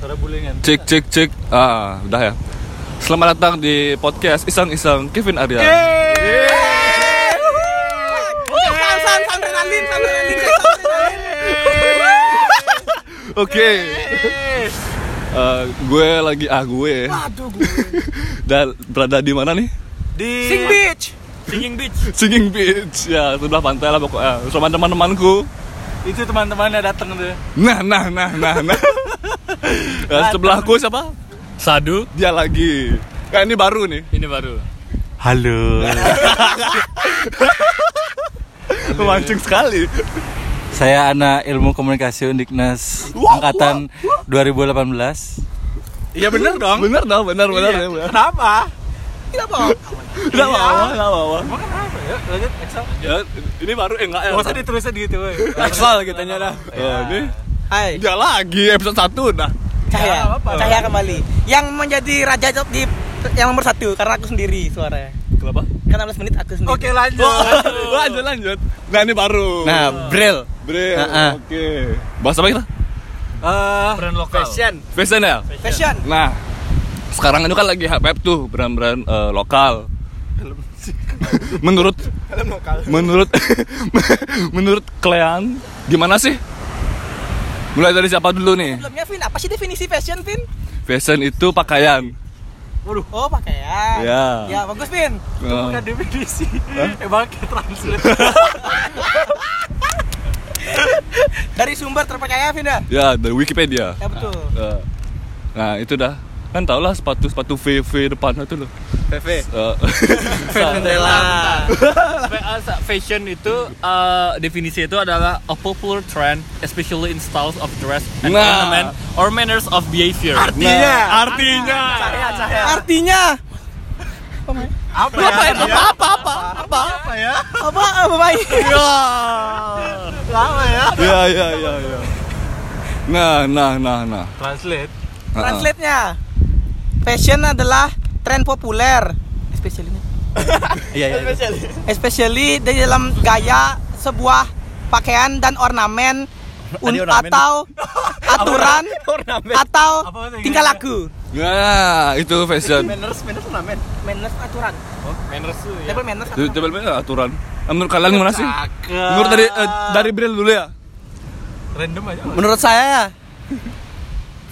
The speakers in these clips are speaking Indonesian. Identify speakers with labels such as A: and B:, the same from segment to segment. A: Suara bulingan.
B: Cek cek cek. Ah, udah ya. Selamat datang di podcast Iseng-iseng Kevin Arya.
C: Sam, sam, sam, Renaldin, sam, Renaldin, sam,
B: Oke. Eh, gue lagi ah gue.
C: Aduh, gue.
B: Dan berada di mana nih?
A: Di
C: Sing Beach.
A: Singing Beach.
B: Singing Beach. Ya, sebelah pantai lah pokoknya. Sama teman-temanku.
A: Itu teman-temannya datang tuh.
B: Nah, nah, nah, nah, nah. Dan sebelahku siapa?
D: Sadu,
B: Dia lagi. Nah, ini baru nih.
D: ini baru.
A: Halo.
B: Memancing sekali.
A: Saya anak ilmu komunikasi Undiknas angkatan 2018.
B: Iya bener dong. Bener dong, bener bener. ya, bener.
C: Kenapa? Kenapa?
B: Enggak apa-apa, enggak
A: Iya.
B: apa-apa.
A: Emang kenapa ya? Lanjut Excel.
B: Ya, ini baru eh enggak ya.
A: Masa ditulisnya gitu, weh.
B: Excel gitu nya dah.
A: Ya.
B: ini
C: Hai,
B: dia lagi episode 1
A: Ya,
B: dah.
C: Cahaya,
A: apa-apa.
C: Cahaya kembali. Yang menjadi raja job di yang nomor satu karena aku sendiri suaranya.
B: Kenapa?
C: Karena 16 menit aku sendiri.
A: Oke, lanjut.
B: lanjut lanjut. Nah, ini baru.
A: Nah, Bril.
B: Bre,
A: Heeh.
B: oke. Bahas apa kita?
A: Eh,
D: Brand lokal.
B: Fashion ya?
C: Fashion.
B: Nah, sekarang itu kan lagi hype tuh brand-brand eh, lokal. menurut menurut menurut kalian gimana sih? Mulai dari siapa dulu nih?
C: Sebelumnya Vin, apa sih definisi fashion, Vin?
B: Fashion itu pakaian.
C: Waduh. Oh, pakaian.
B: Ya.
C: Ya, bagus, Vin.
B: Nah.
A: Bukan definisi. Emang kayak translate.
C: Dari sumber terpercaya, Vin ya.
B: Ya, dari Wikipedia.
C: Ya betul.
B: Eh, Nah, itu dah. Kan tau lah sepatu-sepatu VV depan itu loh.
A: PV.
B: Eh,
D: Fashion itu uh, definisi itu adalah a popular trend, especially in styles of dress and
B: Nah.
D: ornament or manners of behavior.
A: Artinya.
B: Nah, artinya.
A: Cahaya.
C: Artinya
A: Ya. Apa ya? Apa?
C: apa apa apa
A: Apa ya?
C: apa apa baik.
A: Lama ya?
B: Ya, ya, ya, ya. Nah, nah, nah, nah.
A: Translate.
C: Translate-nya. Fashion adalah tren populer, especially
A: Iya, iya.
C: especially di dalam gaya sebuah pakaian dan ornamen un-
A: Tadi ornamen.
C: atau aturan
A: Ornamen.
C: atau
A: Apa maksudnya?
C: tingkah laku.
B: Nah, itu fashion.
A: Manners, manners ornamen.
C: Manners aturan.
A: Manners tuh ya.
C: Table manners. Iya.
B: Itu coba lihat aturan. Nah, Menurut kalian gimana sih?
A: Cakep.
B: Menurut dari eh, dari Bril dulu ya.
A: random aja.
E: Menurut saya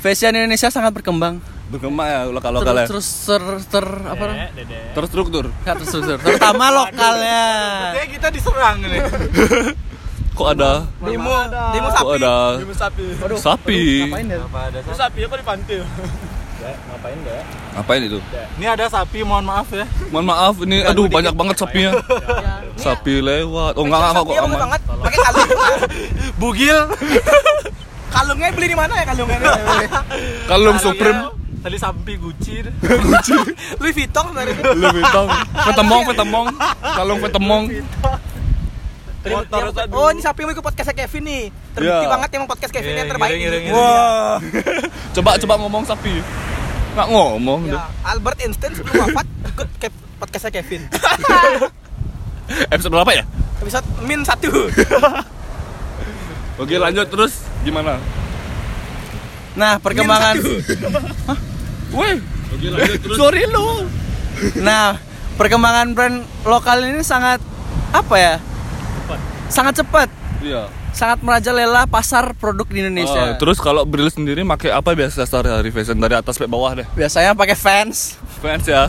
E: fashion Indonesia sangat berkembang.
B: Berkembang ya lokal-lokal ya.
E: Terus terus ter, ter apa? namanya?
B: Terstruktur.
E: Nggak terstruktur. Terutama lokalnya.
A: Kayaknya kita diserang nih.
B: Kok ada
C: Demo, demo
B: kok
C: sapi.
B: ada
A: Demo sapi.
B: sapi?
A: Apa ada sapi?
D: sapi apa di pantai?
B: Ngapain itu?
A: Ini ada sapi, mohon maaf ya.
B: Mohon maaf ini aduh banyak banget sapinya. Iya. Sapi lewat. Oh enggak enggak kok
C: Iya, bagus
B: aman.
C: banget. Pakai kalung.
A: Bugil.
C: Kalungnya beli di mana ya kalungnya?
B: Kalung
A: Tadi
B: Supreme
A: ya, Tadi sapi Gucci.
C: Louis Vuitton kemarin.
B: Louis Vuitton. Petemong, petemong. Kalung petemong.
A: Motor tadi.
C: Oh, ini sapi mau ikut podcast Kevin nih. Terbukti
B: Iya.
C: banget emang podcast Kevin
A: Iya,
C: yang terbaik.
A: giring, giring,
C: ini.
A: giring.
B: Coba coba ngomong sapi. Enggak ngomong
C: Ya,
B: dia.
C: Albert Einstein sebelum wafat ikut ke- podcastnya Kevin.
B: Episode berapa ya?
C: Episode min satu.
B: Oke, lanjut terus gimana?
E: Nah, perkembangan.
B: Weh. Oke, lanjut terus. Sorry lu.
E: Nah, perkembangan brand lokal ini sangat apa ya? Sangat cepat,
B: Iya.
E: sangat merajalela pasar produk di
B: Ah,
C: Iya.
E: Indonesia.
B: terus kalau Bril sendiri pakai apa biasa sehari-hari fashion dari atas sampai bawah deh?
E: Biasanya pakai fans.
B: Fans ya.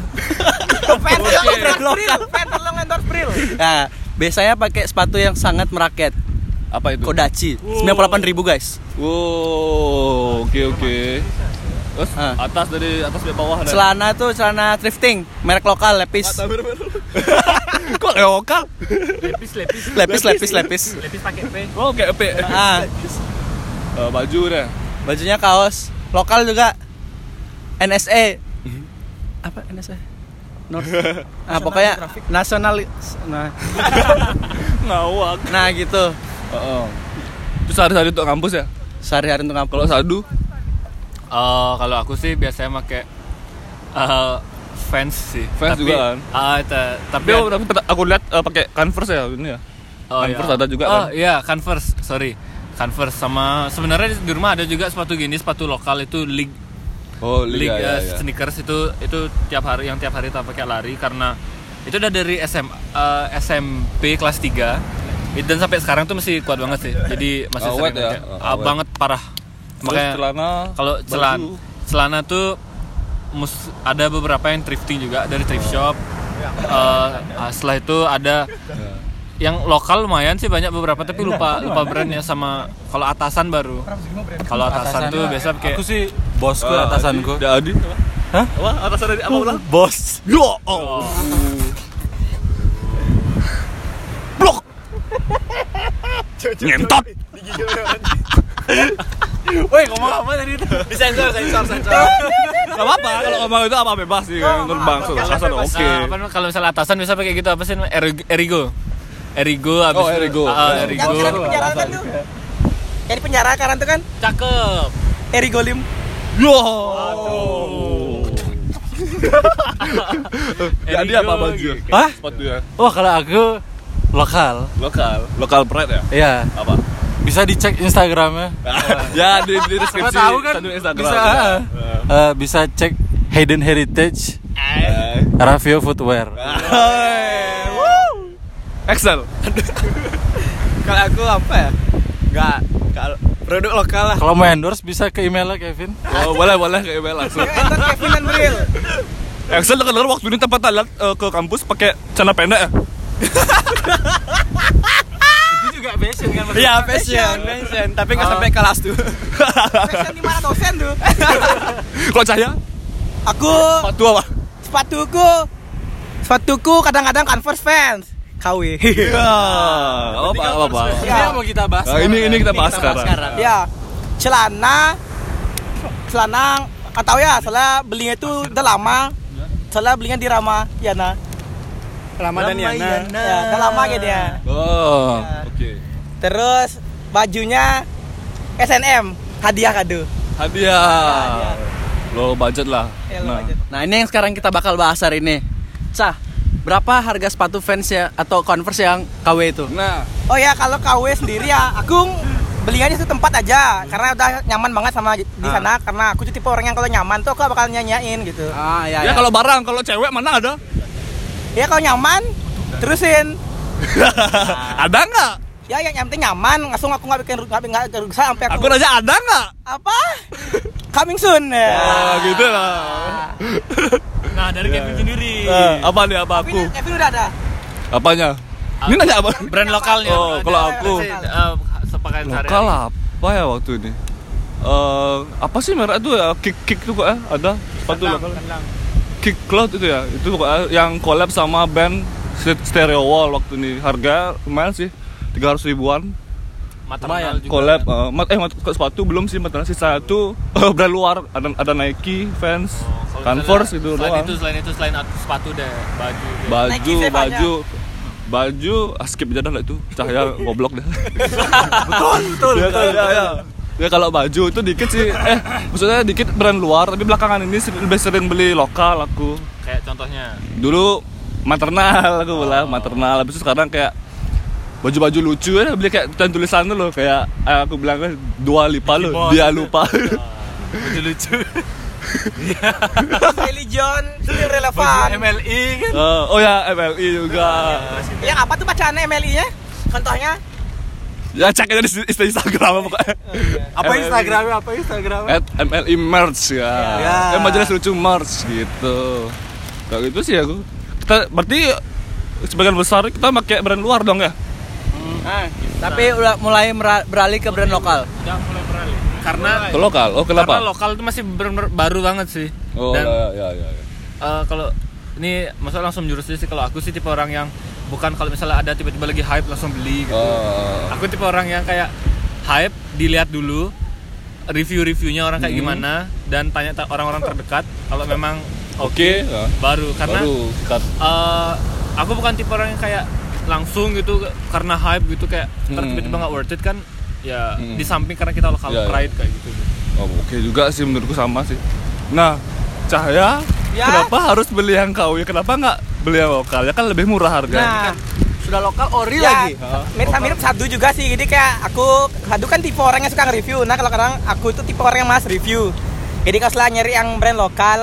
C: Fan tolong
E: Oke.
C: endorse Bril. Fan tolong endorse Bril.
E: Nah, biasanya pakai sepatu yang sangat meraket.
B: Apa itu?
E: Kodachi, 98.000 guys.
B: Wow, oke oke. Terus
E: Ah.
B: atas dari atas sampai bawah deh.
E: Celana tuh celana thrifting, merek lokal, lepis.
B: Kok lokal?
D: Lepis lepis.
E: Lepis,
A: ya?
E: lepis, lepis.
D: Lepis pakai P.
B: Oh, kayak EP.
E: Ah,
B: Eh, baju deh.
E: bajunya kaos lokal juga NSE
A: Mhm.
E: apa NSE North ah pokoknya nasional nah
B: Ngawak.
E: nah gitu
B: Heeh. Terus sehari-hari untuk kampus ya?
E: sehari-hari untuk
B: Kalau
E: ngapain
B: sadu,
D: Eh, kalau aku sih biasanya pakai eh, fans sih.
B: Vans
D: tapi,
B: juga kan?
D: Ah, ta- tapi
B: tapi aku, tapi pernah- aku lihat eh, pakai Converse ya ini ya. Converse ada juga
D: oh,
B: kan?
D: iya, Converse, sorry. Converse sama sebenarnya di rumah ada juga sepatu gini sepatu lokal itu League
B: Oh,
D: League
B: liga ya,
D: eh,
B: ya.
D: sneakers itu itu tiap hari yang tiap hari tak pakai lari karena itu udah dari SM, eh, SMP kelas 3 It- dan sampai sekarang tuh masih kuat banget sih jadi masih
B: Awet
D: sering
B: ya,
D: pakai.
B: awet.
D: Ah, banget parah
B: Terus celana,
D: kalau
B: baju.
D: celana celana tuh mus- ada beberapa yang thrifting juga dari
B: Oh.
D: thrift shop Eh, ah, setelah itu ada
B: Ya.
D: yang lokal lumayan sih banyak beberapa
B: Iya,
D: tapi lupa lupa brandnya sama kalau atasan baru kalau atasan tuh biasa pakai
A: Aku sih bosku
B: eh,
A: atasanku.
B: Ada Adi.
D: wah atasan dari apa ulang
B: Bos. Yo.
D: Oh.
B: Blok. Ngentot.
D: Woi ngomong apa tadi itu? Disensor, sensor, sensor.
B: Gak apa-apa kalau ngomong itu apa bebas sih kan menurut bangsa kasar oke.
D: Nah, apa namanya, kalau misalnya atasan bisa pakai gitu apa sih? namanya? Erig- Erigo. Erigo abis
B: Oh, Erigo.
D: Itu, ah,
B: Ya.
C: Yang
D: Erigo.
C: kira di penjara kan tuh. Yang di penjara sekarang tuh kan
D: Cakep.
C: Eri Golim.
B: Yo. Jadi apa
D: Erigo
B: baju?
D: gitu.
A: Hah?
B: Sepatu ya.
A: Wah Oh, kalau aku lokal.
B: Lokal. Lokal pride ya?
A: Iya.
B: Apa?
A: Bisa dicek Instagramnya.
B: ya di, di
A: Iya. Siapa
B: deskripsi
A: tahu kan?
B: tandu Instagram.
A: Bisa.
B: Ya.
A: eh, bisa cek Hidden Heritage
B: Eh.
A: Ravio Footwear.
B: Eh. Woo. Excel.
E: Kalau aku apa ya? Enggak, kalau produk lokal lah.
A: Kalau mau endorse bisa ke emailnya Kevin.
B: Oh, boleh boleh kayak email langsung.
C: Yang endorse Kevin dan Bril.
B: Excel dengar waktu ini tempat alat eh, ke kampus pakai celana pendek ya.
A: Itu juga fashion kan.
E: Iya, fashion, fashion. Tapi
B: Ah.
E: nggak sampai kelas tuh.
C: Fashion di mana dosen tuh?
B: Kalau cahaya?
C: Aku
B: Sepatu apa?
C: sepatuku sepatuku kadang-kadang Converse fans. KW.
B: Ya. Apa apa apa.
A: Ini yang mau kita bahas.
B: Nah, ini ini kita bahas sekarang.
C: ya, celana celana nggak tahu ya, soalnya belinya itu udah lama. Soalnya belinya di Rama Yana.
E: Ramadan ya.
C: Ya,
A: kan
C: udah
B: Nah.
C: lama gitu ya.
B: Oh, oke.
C: Terus bajunya SNM, hadiah kado.
B: Hadiah. Lo budget lah.
C: Ya, lu
B: Nah.
C: aja.
E: Nah, ini yang sekarang kita bakal bahas hari ini. Cah, berapa harga sepatu fans ya atau Converse yang KW itu?
B: Nah,
C: Oh ya kalau KW sendiri ya aku belinya di satu tempat aja karena udah nyaman banget sama di
B: Ah.
C: di sana karena aku tuh tipe orang yang kalau nyaman tuh aku bakal nyanyain gitu.
E: Ah,
A: iya.
B: ya
E: ya.
B: kalau barang kalau cewek mana ada?
C: Ya kalau nyaman terusin.
B: ada nggak?
C: Ya yang yang penting nyaman langsung aku nggak bikin ru- nggak nggak rusak sampai aku,
B: Aku nanya ada nggak?
C: apa coming soon ya.
B: Ah, gitu lah.
D: Nah, dari
B: Ya,
D: Kevin sendiri.
B: Eh, apa nih apa aku?
C: Kevin, Kevin udah ada.
B: Apanya? Ini nanya apa?
D: Brand lokalnya.
B: Oh, kalau aku
D: Sih, eh, Sepakan
B: lokal apa ya waktu ini? Eh, apa sih merek itu ya? Kick kick tuh kok ya? Ada sepatu lokal. Kick Cloud itu ya. Itu pokoknya yang collab sama band St- Stereo Wall waktu ini. Harga lumayan sih. 300 ribuan
D: Maternal juga. ya.
B: collab eh, mat eh mat kok sepatu belum sih maternal sisa satu brand luar ada ada Nike Vans
D: Oh, Kalau
B: Converse
D: misalnya
B: gitu
D: selain
B: doang
D: itu selain itu selain at- sepatu deh baju deh.
B: baju
C: Nike Vans
B: baju baju ah, skip aja dah lah itu cahaya goblok dah
A: Betul.
B: ya, kan, ya, ya. Ya, kalau baju itu dikit sih eh maksudnya dikit brand luar tapi belakangan ini se- lebih sering beli lokal aku
D: kayak contohnya
B: dulu maternal aku
A: Oh.
B: lah maternal habis itu sekarang kayak baju-baju lucu ya beli kayak dan tulisan tuh loh kayak eh, aku bilang kan dua lipa lo
A: Boss.
B: dia lupa
A: Lucu-lucu.
C: Religion itu relevan.
A: MLI kan.
B: Eh, oh ya MLI juga
A: Oh, iya,
C: Yang apa tuh bacaan MLI-nya? Contohnya
B: ya cek aja di di Instagram pokoknya
A: Apa
B: MLI.
A: Instagramnya? Apa Instagramnya?
B: at MLI merch ya.
A: Ya.
B: Eh, majelis lucu merch gitu. Kayak gitu sih aku. Kita berarti sebagian besar kita pakai brand luar dong ya.
E: Ah, tapi udah mulai mera- beralih ke brand lokal.
D: karena
B: Ke lokal. Oh, kenapa?
D: karena lokal itu masih bener-bener baru banget sih
B: Oh,
D: dan
B: ya, ya, ya, ya.
D: eh, kalau ini maksudnya langsung jurus sih kalau aku sih tipe orang yang bukan kalau misalnya ada tiba-tiba lagi hype langsung beli gitu
B: Oh.
D: aku tipe orang yang kayak hype dilihat dulu review-reviewnya orang
B: Hmm.
D: kayak gimana dan tanya ta- orang-orang terdekat kalau memang oke
B: Oke, ya.
D: baru karena
B: baru cut.
D: eh aku bukan tipe orang yang kayak langsung gitu karena hype gitu kayak ntar
B: Hmm.
D: tiba-tiba nggak worth it kan ya
B: Hmm.
D: di samping karena kita lokal
B: Ya, ya.
D: pride kayak gitu
B: Oh, oke juga sih menurutku sama sih. Nah, Cahaya,
C: Ya?
B: kenapa harus beli yang KW? Kenapa nggak beli yang lokal? Ya kan lebih Ya, murah harganya.
C: nah
E: sudah lokal ori
F: Iya.
E: lagi.
C: Iya. mirip mirip sadu juga sih jadi kayak aku sadu kan tipe orang yang suka nge-review nah kalau kadang aku itu tipe orang yang malas review jadi kalau setelah nyari yang brand lokal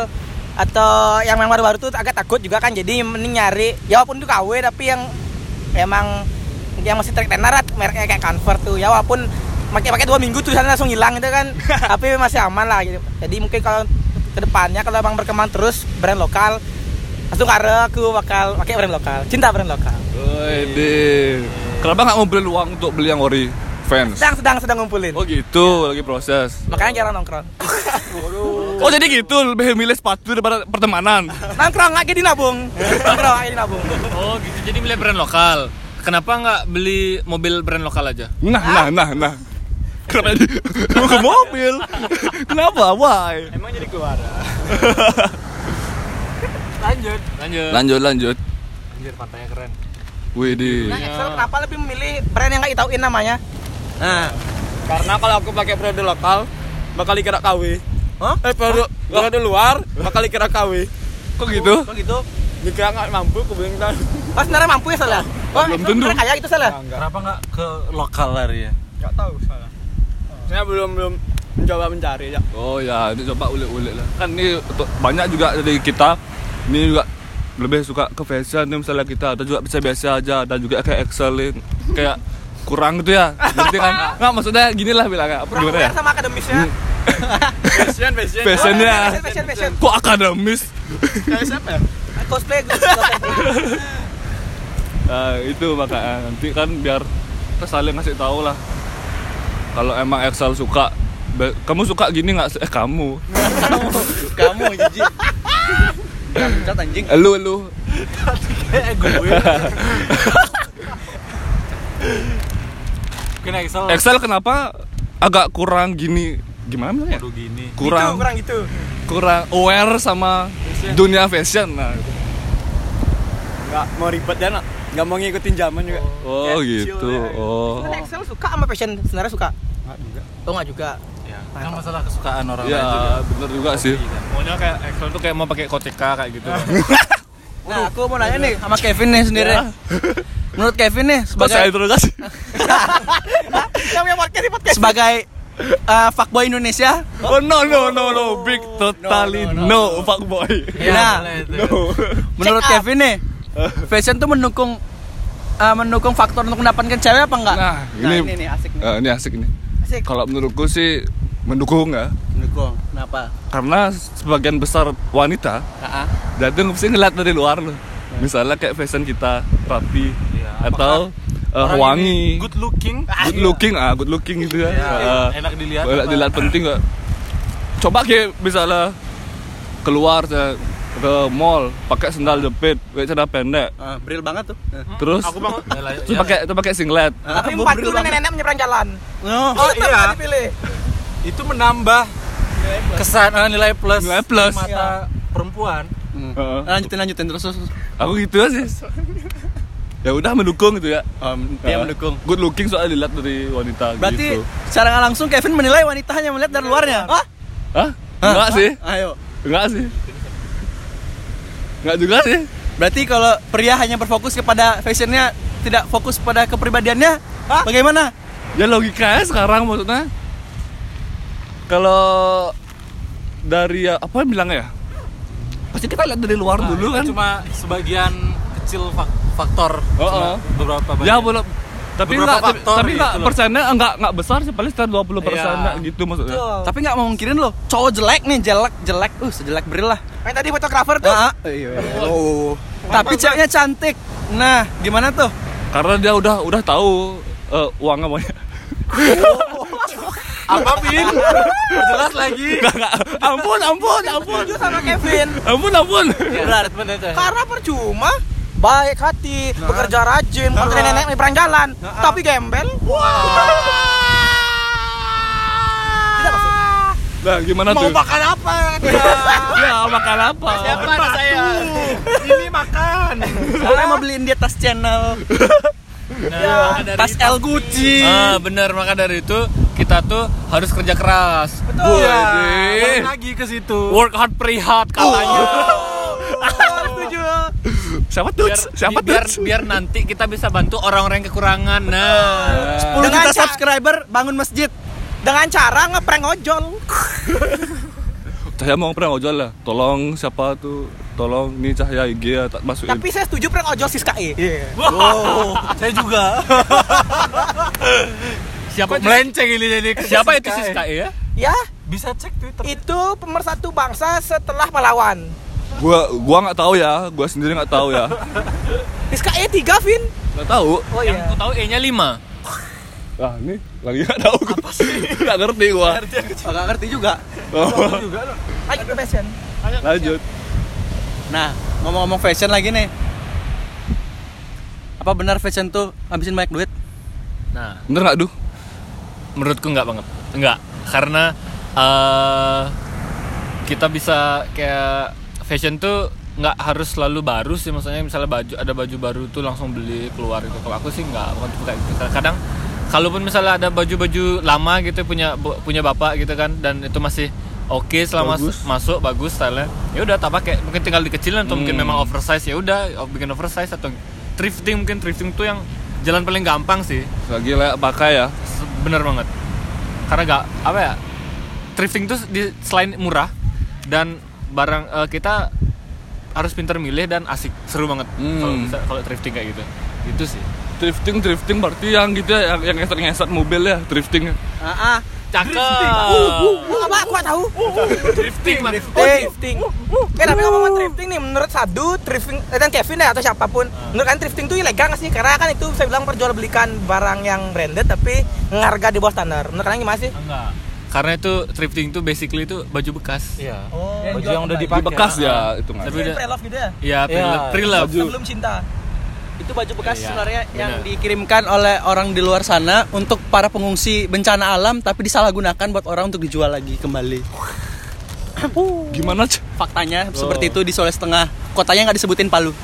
C: atau yang memang baru-baru tuh agak takut juga kan jadi mending nyari ya walaupun itu KW tapi yang emang yang masih track tenar mereknya kayak Convert tuh ya walaupun pakai pakai dua minggu tuh sana langsung hilang itu kan tapi masih aman lah gitu. jadi mungkin kalau kedepannya kalau emang berkembang terus brand lokal langsung karena aku bakal pakai brand lokal cinta brand lokal
B: Wede. Kenapa nggak ngumpulin uang untuk beli yang ori fans?
C: sedang sedang sedang ngumpulin
B: Oh gitu, lagi proses.
C: makanya jarang nongkrong
B: Oh jadi gitu, lebih milih sepatu daripada pertemanan.
C: nongkrong nggak jadi nabung nongkrong nggak jadi nabung
D: Oh gitu. Jadi milih brand lokal. Kenapa nggak beli mobil brand lokal aja?
B: Nah, nah, nah, nah. Kenapa jadi mau ke mobil? Kenapa? Why?
A: Emang jadi keluarga.
C: lanjut
D: Lanjut.
B: Lanjut, lanjut.
A: Anjir pantainya keren.
B: Widih.
C: nah Excel kenapa lebih memilih brand yang nggak ditauin namanya
E: Nah,
A: Karena kalau aku pakai produk lokal bakal dikira KW.
E: Hah?
A: Eh produk produk luar bakal dikira KW.
B: Kok gitu?
C: kok gitu
A: Dikira nggak mampu aku bilang tahu.
C: oh sebenarnya mampu ya salah oh
B: Belum
C: Excel
B: tentu.
C: sebenarnya kaya gitu salah
A: Enggak.
E: kenapa nggak ke lokal lari ya?
A: Enggak tahu salah. Saya belum belum mencoba mencari ya.
B: Oh ya, ini coba ulik-ulik lah. Kan ini untuk- banyak juga dari kita. Ini juga lebih suka ke fashion nih misalnya kita ada juga bisa biasa aja dan juga kayak excellent kayak kurang gitu ya ngerti kan nggak maksudnya gini lah bilangnya apa
C: kurang
B: gimana ya
C: ya? sama akademisnya
A: Fashion fashion.
B: fashionnya
C: fashion fashion fashion
B: kok akademis
A: Kayak siapa ya?
C: cosplay gue cosplay. Gitu,
B: Nah, itu maka nanti kan biar kita saling ngasih tahu lah. Kalau emang Excel suka, be- kamu suka gini nggak? se- Eh kamu,
E: Kamu jijik. Jangan pecat anjing.
B: Eh, lu lu.
A: Eh, Kena Excel.
B: Excel kenapa agak kurang gini? Gimana bilangnya?
A: Aduh gini.
B: Kurang
C: Gitu, kurang gitu
B: kurang aware sama dunia fashion. Nah,
A: Enggak mau ribet dan enggak mau ngikutin zaman juga.
B: oh
A: Kayak chill
B: gitu.
A: aja.
B: Oh.
C: Sebenarnya Kan Excel suka sama fashion sebenarnya suka
A: Enggak juga.
C: oh nggak juga
A: Ya.
C: Mantap.
E: masalah kesukaan orang
B: Ya, bener juga sih.
D: Maunya kayak Excel tuh kayak mau pakai koteka kayak gitu.
E: Nah, aku mau nanya nih sama Kevin nih sendiri.
A: Iya.
E: Menurut Kevin nih
B: Kok saya
E: sebagai
B: terus kasih?
C: yang punya podcast di podcast
E: sebagai eh, fuckboy Indonesia.
B: Oh no no no no, big totally
E: No, no, no.
B: no, fuck boy.
A: Iya,
E: nah,
B: No.
E: menurut
A: ah.
C: Check up.
E: Kevin nih, fashion tuh mendukung eh, mendukung faktor untuk mendapatkan cewek apa enggak?
B: Nah, ini-
E: ini nih asik nih.
B: Eh, ini asik nih.
C: Asik.
B: Kalau menurutku sih mendukung ya.
E: Mendukung. Kenapa?
B: karena sebagian besar wanita
E: Heeh.
B: jadi mesti ngeliat dari luar loh misalnya kayak fashion kita rapi atau eh, wangi good,
A: Good looking.
B: looking ah good looking gitu ya Ah,
A: Enak dilihat.
B: boleh dilihat penting nggak coba kayak misalnya keluar ke, ke mall pakai sendal jepit pakai celana pendek
E: bril banget tuh. Heeh.
B: terus terus pakai terus pakai singlet
C: tapi
E: Bo-
C: empat
E: bril
C: dulu
E: banget.
C: nenek-nenek menyeberang jalan
E: Oh.
A: Oh,
C: tetap
A: iya.
C: nggak dipilih
A: Itu menambah kesan eh, nilai plus.
B: Nilai plus.
A: di Mata perempuan.
E: Hmm.
B: Heeh.
E: Lanjutin lanjutin terus. terus. terus.
B: aku gitu aja sih ya udah mendukung gitu ya
E: Um, dia
B: Ah,
E: mendukung.
B: good looking soalnya dilihat dari wanita
E: Berarti
B: gitu
E: secara nggak langsung Kevin menilai wanita hanya melihat
C: Iya.
E: dari luarnya. Hah?
B: Hah? enggak sih
E: Ayo.
B: Enggak sih. Enggak juga sih.
E: Berarti kalau pria hanya berfokus kepada fashionnya, tidak fokus pada kepribadiannya,
C: Hah?
E: bagaimana?
B: Ya logikanya sekarang maksudnya kalau dari ya, apa yang bilangnya ya? Pasti kita lihat dari luar
F: Nah, Ah,
B: dulu kan.
A: Cuma sebagian kecil fak- faktor.
B: Oh,
A: Cuma
B: oh.
A: Beberapa
B: ya
A: banyak.
B: belum tapi
A: Beberapa
B: enggak
A: faktor
B: tapi enggak
A: gitu loh.
B: persennya enggak enggak besar sih paling sekitar 20 persen
A: Iya.
B: enggak gitu maksudnya.
C: Betul.
E: Tapi nggak mau mungkinin loh, cowok jelek nih, jelek, jelek, uh, sejelek beril lah.
C: Kayak tadi fotografer tuh
E: Ah, ah, iya. Oh. Tapi ceweknya cantik. Nah, gimana tuh?
B: Karena dia udah udah tahu eh, uangnya banyak.
A: Apa pin? Jelas lagi.
B: Enggak enggak. Ampun ampun ampun.
C: Setuju oh, sama Kevin
B: Ampun ampun.
E: Berat.
C: Karena percuma baik hati, bekerja rajin, bukan
A: Nah.
C: nenek nyebrang jalan, tapi gembel. Tidak masuk.
B: Nah, gimana
C: Mau
B: tuh?
C: makan apa?
B: Ya, makan apa?
A: saya? Ini makan.
E: Saya mau beliin dia tas channel,
D: Nah, dari
E: tas L Gucci.
D: Ah, bener maka dari itu kita tuh harus kerja keras.
C: Betul.
A: Ya,
B: Wede. Oh,
A: balik lagi ke situ.
D: Oh. Work hard, play hard katanya.
C: Setuju.
B: Siapa tuh?
D: biar,
B: Siapa tuh?
D: biar, biar nanti kita bisa bantu orang-orang yang kekurangan nah
B: Eh.
E: 10
C: Dengan
E: juta
C: ca-
E: subscriber bangun masjid.
C: Dengan cara ngeprank ojol.
B: Cahaya mau pernah ojol lah. Tolong siapa tuh? Tolong nih Cahaya IG ya, tak masukin.
C: Tapi saya setuju prank ojol Siska E.
E: Saya juga.
D: siapa itu,
E: Melenceng ini jadi.
D: siapa itu Siska E ya
C: Ya,
E: Bisa cek Twitter.
C: itu pemersatu bangsa setelah pahlawan.
B: Gua gua nggak tahu ya, gua sendiri nggak tahu ya.
C: Siska E 3, Vin.
B: Nggak tahu.
C: Oh
D: yang aku tahu E nya 5
B: Lah ini lagi nggak tahu gua. Apa sih? nggak ngerti gua.
E: Enggak ngerti juga.
C: Ayo ke fashion.
B: Lanjut.
E: Nah, ngomong-ngomong fashion lagi nih. Apa benar fashion tuh habisin banyak duit?
D: nah
B: Bener nggak duh?
D: menurutku nggak banget nggak karena eh kita bisa kayak fashion tuh nggak harus selalu baru sih maksudnya misalnya baju ada baju baru tuh langsung beli keluar gitu kalau aku sih nggak bukan tipe kayak gitu kadang kalaupun misalnya ada baju-baju lama gitu punya bu- punya bapak gitu kan dan itu masih oke selama
B: Bagus.
D: masuk bagus style ya udah tak pakai mungkin tinggal dikecilin atau mungkin
B: Hmm.
D: memang oversize ya udah bikin oversize atau thrifting mungkin thrifting tuh yang jalan paling gampang sih
B: Lagi layak pakai ya.
D: bener banget karena gak apa ya thrifting tuh di, selain murah dan barang eh, kita harus pinter milih dan asik seru banget
B: Hmm.
D: kalau bisa- kalau thrifting kayak gitu itu sih
B: Drifting, drifting berarti yang gitu ya, yang, yang ngeset-ngeset mobil ya, drifting.
E: Ah, ah.
D: cakep Eh.
C: Apa aku nggak tahu?
D: drifting man.
C: Oh, drifting. Eh, tapi ngomong drifting nih, menurut Sadu, drifting eh, dan Kevin ya atau siapapun, menurut kan drifting tuh ilegal nggak sih? Karena kan itu saya bilang perjualbelikan barang yang branded tapi harga di bawah standar. Menurut kalian gimana sih?
D: Enggak. karena itu thrifting tuh basically itu baju bekas
F: Iya.
C: Oh,
F: Baju yang udah
B: Di
F: dipakai.
B: bekas ya itu nggak.
D: Tapi
C: Tapi
D: udah-
C: pre-love gitu ya?
D: ya pre-love,
F: Iya,
D: pre-love.
C: Sebelum cinta.
E: Itu baju bekas
D: Iya,
E: sebenarnya yang
D: benar.
E: dikirimkan oleh orang di luar sana untuk para pengungsi bencana alam tapi disalahgunakan buat orang untuk dijual lagi kembali.
B: Gimana?
A: Oh.
B: C?
E: Faktanya seperti itu di Sulawesi Tengah. Kotanya nggak disebutin Palu.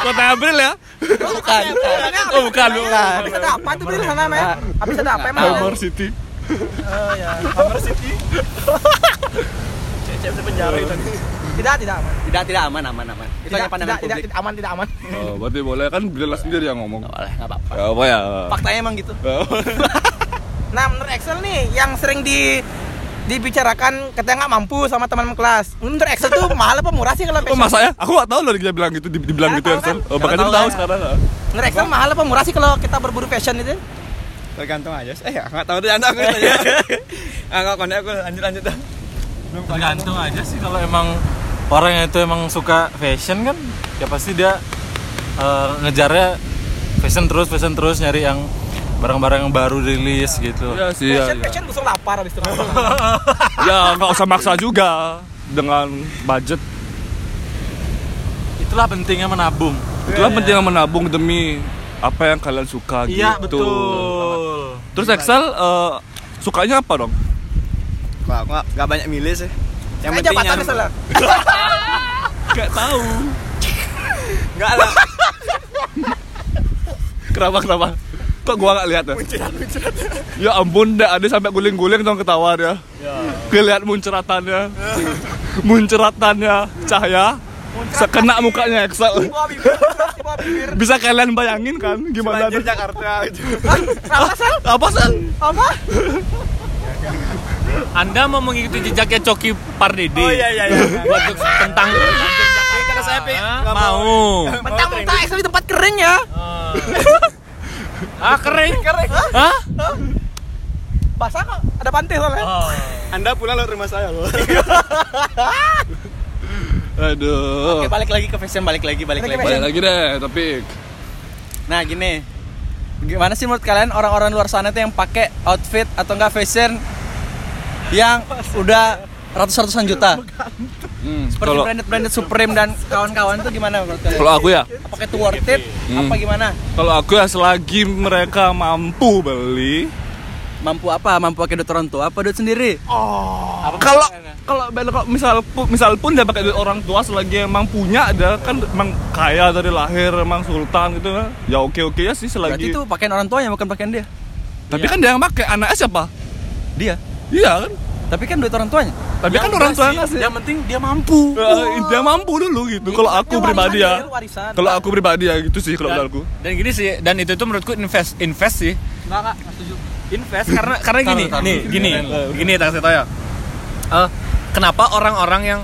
B: Kota April ya?
E: Bukan.
B: Oh bukan, bukan.
C: Habis ada Iya, apa tuh beli di sana, Mel? Habis ada apa emang?
B: Hammer City.
C: Tidak, tidak aman.
E: Tidak tidak aman aman aman. Itu hanya
C: Tidak,
E: pandangan
C: tidak, tidak,
E: publik.
C: tidak aman, tidak aman.
B: Oh, berarti boleh kan Bilal sendiri yang ngomong.
E: Nggak boleh, nggak apa-apa.
B: Ya, apa ya?
E: Faktanya emang gitu.
C: Nah, menurut Excel nih yang sering di dibicarakan katanya nggak mampu sama teman kelas. Menurut Excel tuh mahal apa murah sih kalau
B: Oh,
C: fashion?
B: masa ya? Aku gak tahu loh dia bilang gitu, di- dibilang
C: Nggak
B: gitu ya,
C: tahu kan?
B: Sel. Oh, makanya
E: Nggak
B: tahu
E: tahu
B: sekarang. Iya,
C: Menurut Excel mahal apa murah sih kalau kita berburu fashion itu?
A: Tergantung aja. sih. Eh, nggak tahu deh anda aku tanya. Ah, nggak konek aku lanjut lanjut dah.
F: Tergantung aja sih kalau emang orang yang itu emang suka fashion kan, ya pasti dia eh, ngejarnya fashion terus, fashion terus nyari yang barang-barang yang baru rilis gitu.
B: Ya sih, ya.
C: fashion, kan? fashion busung lapar habis itu.
B: Ya, nggak usah maksa juga dengan budget.
F: Itulah pentingnya menabung.
B: Itulah pentingnya menabung demi apa yang kalian suka gitu.
F: Iya, betul.
B: Terus Excel eh, sukanya apa dong?
A: Wah, aku nggak- nggak banyak milih sih. Yang
C: Kayak
A: penting
C: jabatan
A: nyaman.
C: misalnya.
B: Gak tahu.
A: Nggak lah.
B: Kenapa kenapa? Kok gua gak lihat ya? Ya ampun, dah ada sampai guling-guling dong ketawa dia.
E: Ya.
B: Gue lihat munceratannya. munceratannya cahaya. Sekena mukanya Excel.
C: Bawa bibir, di bawah bibir.
B: Bisa kalian bayangin kan gimana?
A: Banjir Jakarta itu.
C: Apa sel?
B: Apa sih?
C: Apa?
D: anda mau mengikuti jejaknya Coki Pardede
A: Oh iya iya iya.
D: buat jokes tentang
A: Karena saya pengen
D: Ah,
A: nggak
D: mau
C: Mentang-mentang Excel di tempat kering ya.
D: ah kering
C: Kering. Hah?
D: Hah?
C: Basah kok. Ada pantai soalnya.
A: Anda pulang lewat rumah saya loh.
B: Aduh.
E: Oke, balik lagi ke fashion, balik lagi, balik
C: Balik ke
E: lagi.
B: Balik lagi deh topik.
E: Nah, gini. Gimana sih menurut kalian orang-orang luar sana tuh yang pakai outfit atau enggak fashion yang udah ratus-ratusan juta?
B: Hmm,
E: Seperti
B: kalau
E: branded-branded Supreme dan kawan-kawan tuh gimana menurut kalian?
B: kalau aku ya,
E: Apakah itu worth it?
B: Hmm.
E: Apa gimana?
B: kalau aku ya selagi mereka mampu beli,
E: Mampu apa? Mampu pakai duit orang tua apa duit sendiri?
B: kalau kalau kalau misal pu- misal pun dia pakai duit orang tua selagi emang punya ada kan emang kaya dari lahir emang sultan gitu kan ya oke oke ya sih
E: Berarti
B: selagi
E: itu pakaian orang tuanya bukan pakaian dia.
B: tapi kan dia yang pakai anaknya siapa
E: Dia.
B: iya kan
E: Tapi Tapi kan duit orang tuanya.
B: Tapi kan orang tua ngasih.
F: Yang penting dia mampu.
B: Eh, Dia mampu dulu gitu. Kalau aku pribadi ya.
C: dia warisan.
B: Kalau aku pribadi ya gitu sih kalau
D: Dan-
B: menurutku.
D: Dan gini sih, dan itu tuh menurutku invest invest sih.
E: Enggak, enggak, setuju.
D: Invest karena karena gini,
F: Taruh, taruh.
D: nih, gini,
F: Taruh.
D: gini tak saya tanya. Eh, kenapa orang-orang yang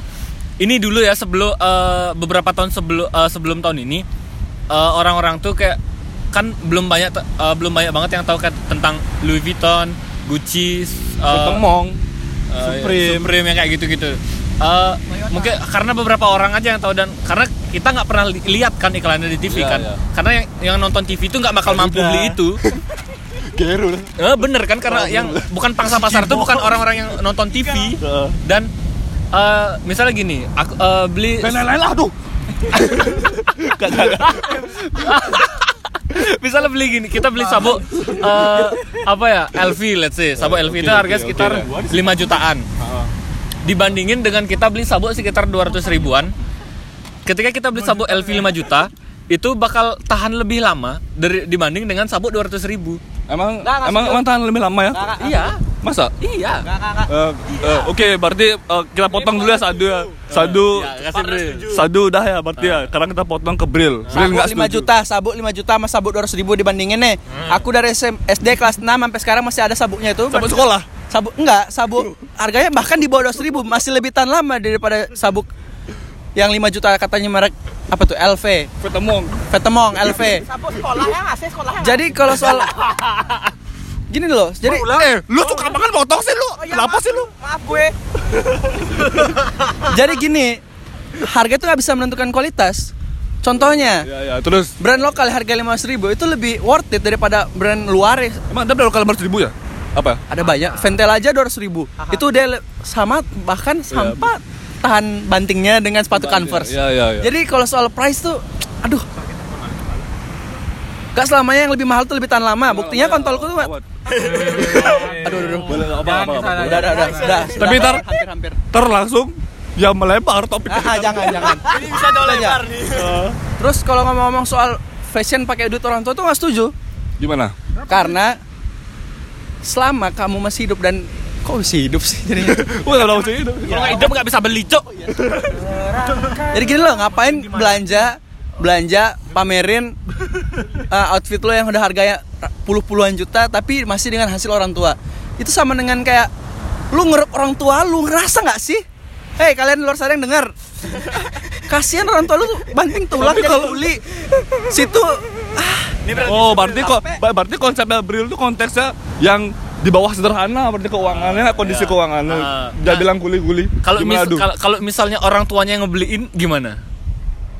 D: ini dulu ya sebelum eh, beberapa tahun sebelum eh, sebelum tahun ini eh, orang-orang tuh kayak kan belum banyak te- eh, belum banyak banget yang tahu kayak tentang Louis Vuitton, Gucci, eh,
B: Ketemong.
D: Eh,
B: Supreme.
D: Supreme yang kayak gitu-gitu. Eh, mungkin karena beberapa orang aja yang tahu dan karena kita nggak pernah li- lihat kan iklannya di TV
B: Iya,
D: kan.
B: iya.
D: Karena yang, yang nonton TV itu nggak bakal mampu beli itu.
B: Geru.
D: Eh, bener kan karena yang bukan pangsa pasar itu bukan orang-orang yang nonton TV
B: Iya.
D: dan eh, misalnya gini, aku eh, beli
B: Dan lain-lain lah tuh.
D: misalnya beli gini, kita beli sabuk eh, apa ya? LV let's say. Sabuk LV itu
B: oke,
D: harga
B: oke,
D: sekitar
B: oke.
D: 5 jutaan. Dibandingin dengan kita beli sabuk sekitar 200 ribuan. Ketika kita beli sabuk LV 5 juta, itu bakal tahan lebih lama dari dibanding dengan sabuk 200 ribu.
B: Emang
C: Nggak, nggak
B: emang
C: setuju.
B: emang tahan lebih lama ya?
C: Nggak, nggak,
D: Iya,
B: Masa?
D: iya.
C: Enggak, enggak, enggak.
B: Eh, eh, Oke, berarti eh, kita potong dulu ya sadu ya. Sadu.
D: Iya, kasih beli.
B: Sadu udah ya berarti ya. Sekarang kita potong ke Bril. Bril
E: Sabuk
B: enggak
E: 5 juta, sabuk 5 juta sama sabuk 200 ribu dibandingin nih. Aku dari SM SD kelas 6 sampai sekarang masih ada sabuknya itu.
B: Hmm. Sabuk sekolah.
E: Sabuk enggak, sabuk harganya bahkan di bawah 200 ribu masih lebih tahan lama daripada sabuk yang 5 juta katanya merek apa tuh LV,
B: Ketemong.
E: Vetemong LV.
C: Sabuk sekolah ya nggak sih sekolah ya nggak?
E: Jadi kalau soal gini loh, jadi
B: Eh, lu suka banget potong sih lu.
C: Oh, iya,
B: Kenapa
C: maaf.
B: sih lu?
C: Maaf gue.
E: jadi gini, harga itu nggak bisa menentukan kualitas. Contohnya,
B: Ya ya, terus
E: brand lokal harga 500 ribu itu lebih worth it daripada brand luar ya.
B: emang ada berapa kali ribu ya? Apa?
E: Ada banyak, Ventel aja 200 ribu Itu dia le- sama, bahkan sampai tahan bantingnya dengan sepatu Converse
B: Ya ya ya.
E: Jadi kalau soal price tuh, aduh Gak selamanya yang lebih mahal tuh lebih tahan lama Buktinya kontolku tuh
B: Aduh, aduh, aduh. Boleh, apa, apa, apa, apa.
E: Udah, udah, udah, udah.
B: Tapi
E: Sudah.
B: ntar,
E: Hampir-hampir
B: ntar langsung yang melebar topik.
E: Ah, jangan, jangan Ini bisa lebar nih Terus kalau ngomong-ngomong soal fashion pakai duit orang tua tuh gak setuju
B: Gimana?
E: Karena selama kamu masih hidup dan kok masih hidup sih jadinya.
B: Wah, udah sih itu.
D: Kalau nggak hidup nggak bisa beli, Cok.
E: Jadi gini loh, ngapain belanja belanja pamerin uh, outfit lo yang udah harganya puluh-puluhan juta tapi masih dengan hasil orang tua. Itu sama dengan kayak lu ngerup orang tua lu ngerasa nggak sih? Hei kalian di luar sana yang dengar. Kasihan orang tua lu tuh banting tulang jadi bully. Situ
B: Oh, berarti kok berarti konsepnya Bril itu konteksnya yang di bawah sederhana berarti keuangannya kondisi
D: Iya.
B: keuangannya.
D: Ah.
B: Jangan
D: Nah,
B: bilang guli-guli.
D: Kalau
B: Gimana,
D: mis-
B: Du?
D: kalau- kalau misalnya orang tuanya yang ngebeliin gimana?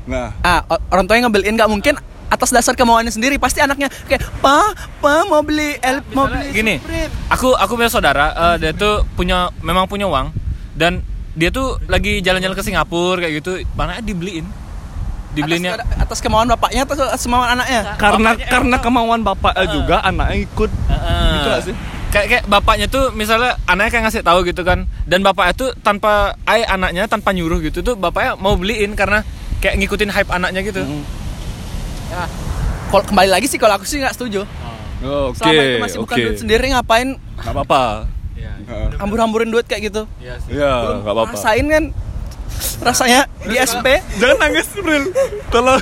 B: Nah,
E: ah o- orang tuanya ngebeliin nggak mungkin atas dasar kemauannya sendiri pasti anaknya kayak pa pa mau beli el mau beli
D: gini aku aku punya saudara eh, dia tuh punya memang punya uang dan dia tuh lagi jalan-jalan ke Singapura kayak gitu mana dibeliin dibeliinnya eh,
E: atas, atas kemauan bapaknya atau atas kemauan anaknya
B: karena karena kemauan bapak eh, juga anaknya ikut.
D: Heeh.
B: Gitu gak sih?
D: eh. kayak kayak bapaknya tuh misalnya anaknya kayak ngasih tahu gitu kan dan bapaknya tuh tanpa ay anaknya tanpa nyuruh gitu tuh bapaknya mau beliin karena kayak ngikutin hype anaknya gitu
E: kalau kembali lagi sih kalau aku sih nggak setuju
B: Oh, Oke.
E: selama itu masih bukan
B: oke.
E: duit sendiri ngapain
B: Nggak apa-apa.
D: Iya.
B: Heeh.
E: hambur-hamburin duit kayak gitu
D: Iya sih.
B: Iya, nggak apa-apa.
E: rasain kan rasanya di SP
B: Jangan nangis, Bril. Tolong.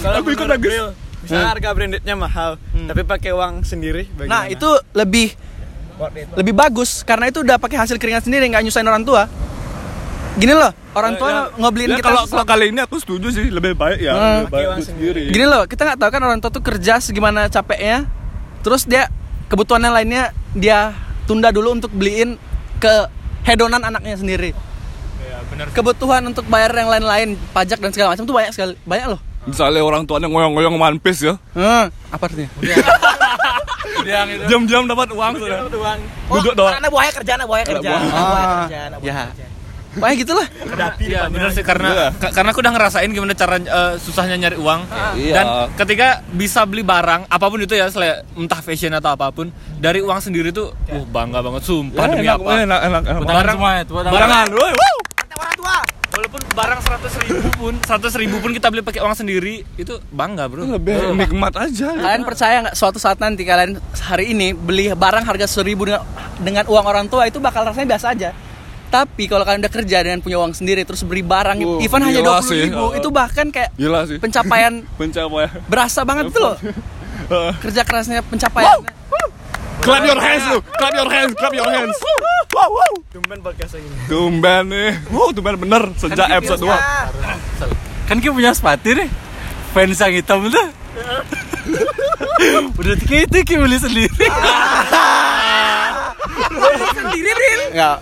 B: Aku ikut nangis.
F: Hmm.
A: Misalnya harga brandednya mahal, tapi pakai uang sendiri bagaimana?
E: nah itu lebih lebih bagus karena itu udah pakai hasil keringat sendiri nggak nyusahin orang tua gini loh orang tua
B: Ya,
E: ngebeliin kita
B: kalau
E: sesuatu.
B: kalau kali ini aku setuju sih lebih baik ya.
E: Hmm.
B: lebih baik
A: uang
B: duit sendiri.
E: Gini loh, kita nggak tahu kan orang tua tuh kerja segimana capeknya. Terus dia kebutuhan yang lainnya dia tunda dulu untuk beliin ke hedonan anaknya sendiri.
B: Iya,
E: Kebutuhan untuk bayar yang lain-lain, pajak dan segala macam tuh banyak sekali, banyak loh.
B: Misalnya orang tuanya ngoyong-ngoyong One Piece ya.
E: Hmm, apa artinya?
B: Jam-jam dapat uang ya. sudah.
C: Oh,
B: Duduk doang.
C: Karena buaya kerja, anak buaya kerja.
B: buaya.
C: Anak buaya kerja, anak buaya
E: ya.
C: kerja.
E: Banyak gitu gitulah.
D: Iya bener sih karena ka- karena aku udah ngerasain gimana cara eh, susahnya nyari uang
B: Iya.
D: dan ketika bisa beli barang apapun itu ya sele- entah fashion atau apapun dari uang sendiri tuh wah bangga banget sumpah demi
B: Iya, enak,
D: apa
B: enak, enak, enak.
D: Iya. Barang-
F: semua ya, tepuk tangan.
D: barangan
B: Barangan. Woi, wow.
C: Kata orang tua.
D: walaupun barang 100 ribu pun 100 ribu pun kita beli pakai uang sendiri itu bangga bro
B: lebih nikmat aja gitu.
E: Kalian percaya nggak suatu saat nanti kalian hari ini beli barang harga seribu dengan, dengan uang orang tua itu bakal rasanya biasa aja. Tapi kalau kalian udah kerja dengan punya uang sendiri terus beli barang,
B: Wow,
E: even hanya
B: gila
E: dua
B: sih.
E: ribu, itu bahkan kayak
B: gila sih
E: pencapaian
B: pencapaian Ah.
E: berasa banget tuh loh.
B: Heeh.
E: Kerja kerasnya pencapaian.
B: clap your hands lu clap your hands clap your hands wow wow tumben nih wow tumben bener sejak
C: Iya.
B: episode 2
F: Kan kita punya sepatu nih. Fans yang hitam tuh. Udah tiki tiki beli sendiri.
C: Sendiri, Bril.
E: Enggak.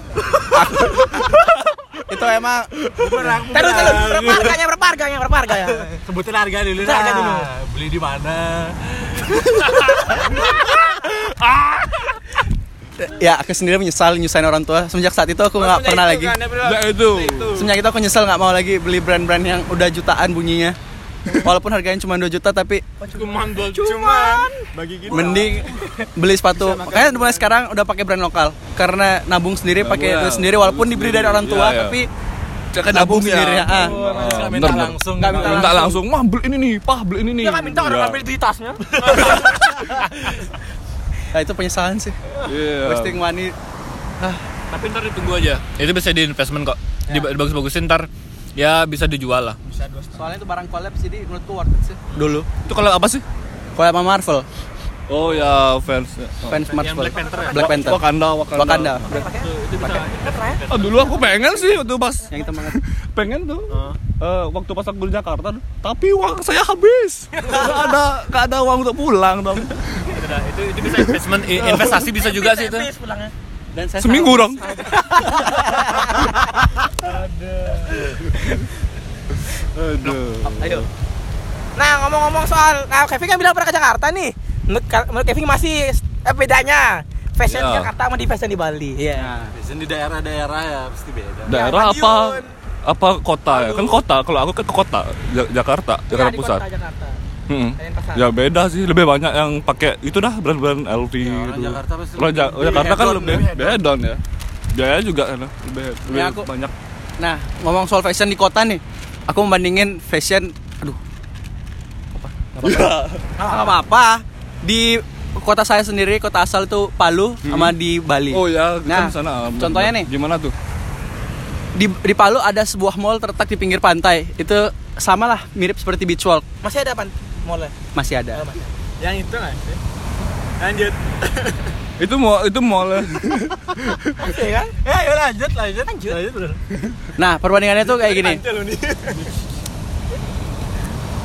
E: itu emang
C: Terus, terus. Berapa harganya? Berapa harganya? Berapa harganya?
F: Sebutin harga dulu,
C: Nah.
F: harga dulu. Beli di mana?
E: ya aku sendiri menyesal nyusahin orang tua semenjak saat itu kan, aku nggak pernah lagi
C: kan,
B: ya itu
E: semenjak itu aku nyesel nggak mau lagi beli brand-brand yang udah jutaan bunyinya walaupun harganya cuma 2 juta tapi
A: Cuman bagi kita
E: mending beli sepatu makanya mulai sekarang udah pakai brand lokal karena nabung sendiri pakai
B: Nabung
E: itu
B: ya,
E: sendiri walaupun
B: nabung
E: diberi dari
B: sendiri,
E: orang tua
B: iya, iya.
E: tapi
B: Jangan
E: nabung sendiri ya ah.
B: Bener,
F: minta
B: bener.
F: langsung.
E: Nggak minta
B: minta langsung wah beli ini nih pah beli ini nih
C: Jangan minta orang
B: Iya.
C: ambil di tasnya.
E: Nah, itu penyesalan sih
B: Iya.
E: wasting money
D: tapi ntar ditunggu aja itu bisa di investment kok Di bagus-bagusin ntar ya bisa dijual lah
E: soalnya itu barang collab jadi menurutku worth it sih dulu
B: itu kalau apa sih
E: collab sama Marvel
B: oh ya fans
E: fans Marvel Black Panther Black Panther
B: ya? Wakanda Wakanda,
E: Wakanda
B: Oh, dulu aku pengen sih waktu pas
E: yang kita banget
B: pengen tuh Eh, waktu pas aku di Jakarta tuh. tapi uang saya habis gak ada gak ada uang untuk pulang dong
D: itu, itu bisa investment i- Iya. investasi bisa juga sih itu
C: Habis pulangnya.
E: dan saya
B: seminggu dong aduh
E: ayo
C: Nah ngomong-ngomong soal, nah Kevin kan bilang pernah ke Jakarta nih. Menurut, Ka- menurut Kevin masih eh, bedanya fashion
B: Iya.
C: Jakarta sama di fashion di Bali. Iya.
F: Nah, Biasanya di daerah-daerah ya pasti beda.
B: daerah
C: Madiun.
B: apa apa kota ya kan kota kalau aku kan ke kota Ja- Jakarta
F: Iya,
B: Jakarta
C: Iya, di
B: pusat
C: kota Jakarta.
B: Mm-mm.
C: Denpasar.
B: ya beda sih lebih banyak yang pakai itu dah brand-brand LV
F: Ya, orang
B: gitu
F: Jakarta pasti
B: Kalau Ja-
F: lebih
B: Jakarta kan
F: hedon,
B: lebih
F: lebih hedon.
B: hedon ya biaya juga kan lebih, lebih
E: Ya, aku-
B: banyak
E: Nah, ngomong soal fashion di kota nih, aku membandingin fashion, aduh,
B: Iya.
E: apa? Nggak apa-apa. Di kota saya sendiri, kota asal itu Palu sama di Bali.
B: oh ya
E: Nah,
B: kan sana
E: contohnya nih.
B: gimana tuh
E: Di, di Palu ada sebuah mall terletak di pinggir pantai. Itu samalah mirip seperti beach walk,
C: Masih ada pan mallnya?
E: masih ada.
A: yang itu nggak sih? Lanjut.
B: itu mau itu mall ya.
C: Masih kan?
F: Eh,
C: Ya, ya lanjut, lanjut, lanjut. Lanjut bro.
E: Nah, perbandingannya tuh kayak gini.
A: Lanjut lu nih.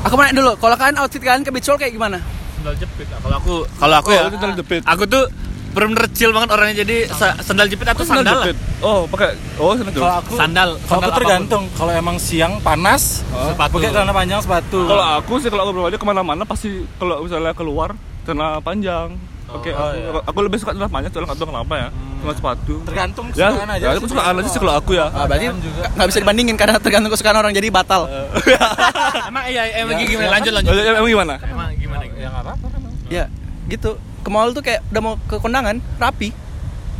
E: Aku mau nanya dulu, kalau kalian outfit kalian ke beach walk kayak gimana?
D: sendal jepit lah. kalau aku kalau aku
B: Oh,
D: ya
B: itu sendal jepit.
D: aku tuh benar-benar chill banget orangnya jadi sa- sendal jepit atau sandal lah.
B: jepit. Oh, pakai oh sandal jepit.
F: Kalau aku
D: sandal
F: Kalau aku
D: apapun.
F: tergantung. Kalau emang siang panas,
D: Sepatu.
F: pakai celana panjang sepatu.
B: Kalau aku sih kalau aku pribadi kemana-mana pasti kalau misalnya keluar celana panjang. Oke,
F: Oh,
B: aku,
F: iya. Hmm.
B: aku lebih suka celana panjang, soalnya nggak tahu kenapa ya. Cuma sepatu.
F: tergantung
B: Ya,
F: kesukaan aja.
B: ya aku suka aja sih kalau aku ya.
E: Ah, berarti
F: Paham juga.
E: nggak bisa dibandingin karena tergantung kesukaan orang jadi batal.
D: emang iya emang gimana lanjut lanjut
B: Lanjut, Eh, Emang gimana?
D: emang gimana
F: Ya nggak apa-apa kan.
E: Ya, gitu. Ke mall tuh kayak udah mau ke kondangan, rapi.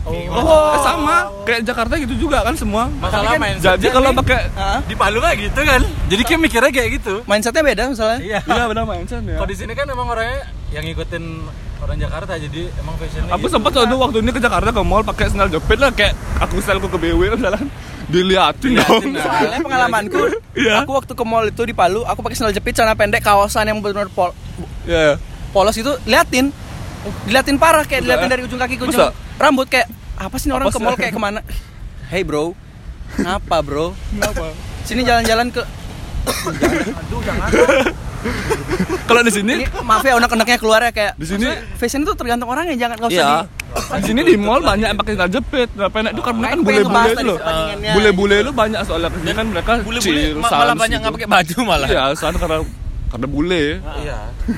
B: Oh, eh, sama kayak Jakarta gitu juga kan semua.
F: Masalah main
B: Jadi kalau pakai
E: Heeh.
F: di Palu kan gitu kan. Jadi kayak mikirnya kayak gitu.
E: Mindsetnya beda misalnya.
F: Iya.
B: Iya benar mindset ya.
F: Kalau di sini kan emang orangnya yang ngikutin orang Jakarta jadi emang fashionnya
B: Aku
F: gitu.
B: sempat waktu waktu ini ke Jakarta ke mall pakai sandal jepit lah kayak aku style ke BW misalnya diliatin dong.
F: Diliatin, nah.
E: Soalnya pengalamanku,
B: Iya.
E: aku waktu ke mall itu di Palu, aku pakai sandal jepit, celana pendek, kawasan yang benar-benar pol-
B: Iya.
E: polos itu liatin. Diliatin parah kayak diliatin
B: Masa?
E: dari ujung kaki ke ujung
B: Masa?
E: rambut kayak apa sih ini orang
B: Apa
E: ke
B: sih?
E: mall kayak kemana? Hey bro, kenapa bro? Sini jalan-jalan ke
B: Kalau di sini
E: ini maaf ya unek-uneknya keluar ya kayak
B: Di sini-
E: maksudnya fashion itu tergantung orangnya jangan nggak usah
B: Iya. Di sini di mall banyak yang pakai celana jepit, celana pendek itu karena kan
E: Nah, ini pengen
B: bule-bule
E: ngebahas
B: itu
E: tadi
B: loh.
E: perbandingannya.
B: Bule-bule itu banyak soalnya di sini kan mereka
D: bule-bule
B: chill,
D: ma- malah
B: sans
D: banyak
B: gitu.
D: nggak pakai baju malah
B: Iya, sans karena karena bule.
F: Iya.
E: di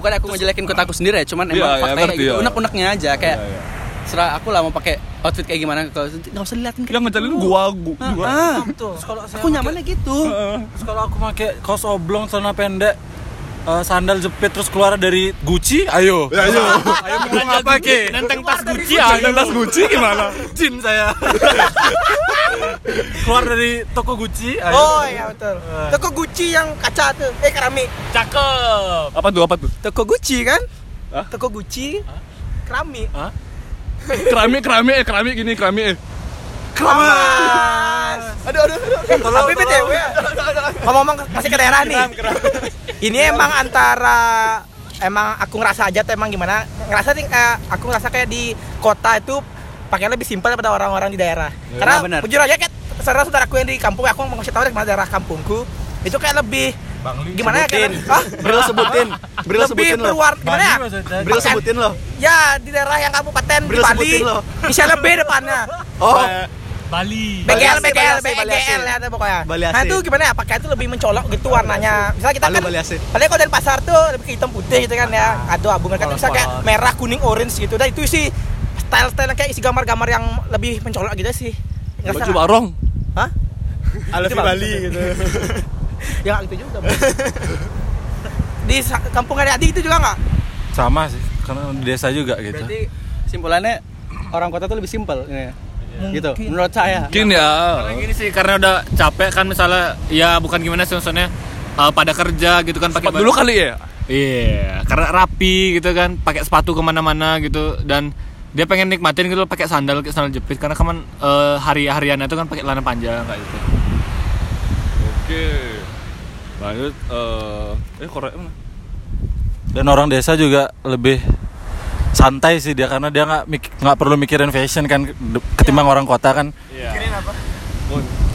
E: bukan aku ngejelekin kotaku sendiri ya cuman
B: Iya, iya,
E: emang faktanya kayak
B: ngerti,
E: gitu
B: iya.
E: unek-uneknya aja
B: Iya,
E: kayak
B: iya.
E: serah aku lah mau pakai outfit kayak gimana kalau nggak usah diliatin kayak
B: Yang ngecalin gua gua. Iya,
E: Ah,
B: gua.
E: ah.
F: Tuh, kalau saya
E: aku nyamannya gitu
B: Heeh.
F: Terus kalau aku pakai kaos oblong, celana pendek, eh, sandal jepit terus keluar dari Gucci, ayo.
B: Ya ayo.
F: Ayo mau ngapa ke?
D: nenteng tas Gucci ah,
B: Iya, tas Gucci gimana?
F: Jin saya. keluar dari toko Gucci ayo.
C: Oh iya betul.
B: Eh.
C: Toko Gucci yang kaca tuh. Eh keramik.
D: Cakep.
B: Apa tuh? Apa tuh?
C: Toko Gucci kan?
B: Hah?
C: Toko Gucci. Keramik.
B: Keramik, keramik, eh, keramik gini, keramik. eh.
C: Keramas. Aduh aduh aduh. Eh, tapi BTW. Ngomong-ngomong masih ke daerah nih. Ini emang antara emang aku ngerasa aja tuh emang gimana? Ngerasa sih eh, aku ngerasa kayak di kota itu pakai lebih simpel daripada orang-orang di daerah. Karena
E: Iya, benar.
C: jujur aja kayak saudara saudaraku yang di kampung aku mau kasih tahu dari mana daerah kampungku itu kayak lebih gimana ya kayak ah,
E: Bril sebutin, Bril
C: lebih
E: sebutin loh.
C: berwarna gimana ya?
F: maksudnya.
E: Bril sebutin loh.
C: Ya di daerah yang kabupaten di
E: Bril
C: Bali.
E: sebutin lo.
C: Misalnya B depannya.
E: Oh,
D: Bali.
C: BGL,
E: Bali
C: BGL,
E: Asih, Bali Asih.
C: BGL ada pokoknya.
E: Bali
C: Nah
E: Asih.
C: itu gimana ya? Pakai itu lebih mencolok gitu warnanya. Misalnya kita
E: Halo
C: kan
E: Bali Asih.
C: paling kalau dari pasar tuh lebih ke hitam putih gitu kan ya. Aduh abu mereka tuh bisa kayak merah, kuning, orange gitu. Dan itu sih style-style yang kayak isi gambar-gambar yang lebih mencolok gitu sih.
B: Baju
C: Ngerasa nggak?
B: barong.
C: Hah?
A: Alfi Bali gitu.
C: Ya nggak gitu juga. Bro. di sa- kampung ada adik itu juga nggak?
F: sama sih karena di desa juga gitu
E: berarti simpulannya orang kota tuh lebih simpel ini ya. Gitu. Menurut
B: Iya.
E: saya.
B: Mungkin ya.
D: Karena gini sih karena udah capek kan misalnya ya bukan gimana sih maksudnya eh, pada kerja gitu kan pakai
B: Tempat dulu kali ya.
D: Iya, karena rapi gitu kan, pakai sepatu kemana-mana gitu dan dia pengen nikmatin gitu loh, pakai sandal kayak sandal jepit karena kan eh, hari hariannya itu kan pakai celana panjang kayak gitu.
B: Oke. Lanjut. eh, eh, korek mana?
F: dan orang desa juga lebih santai sih dia karena dia nggak mik- nggak perlu mikirin fashion kan de- ketimbang orang kota kan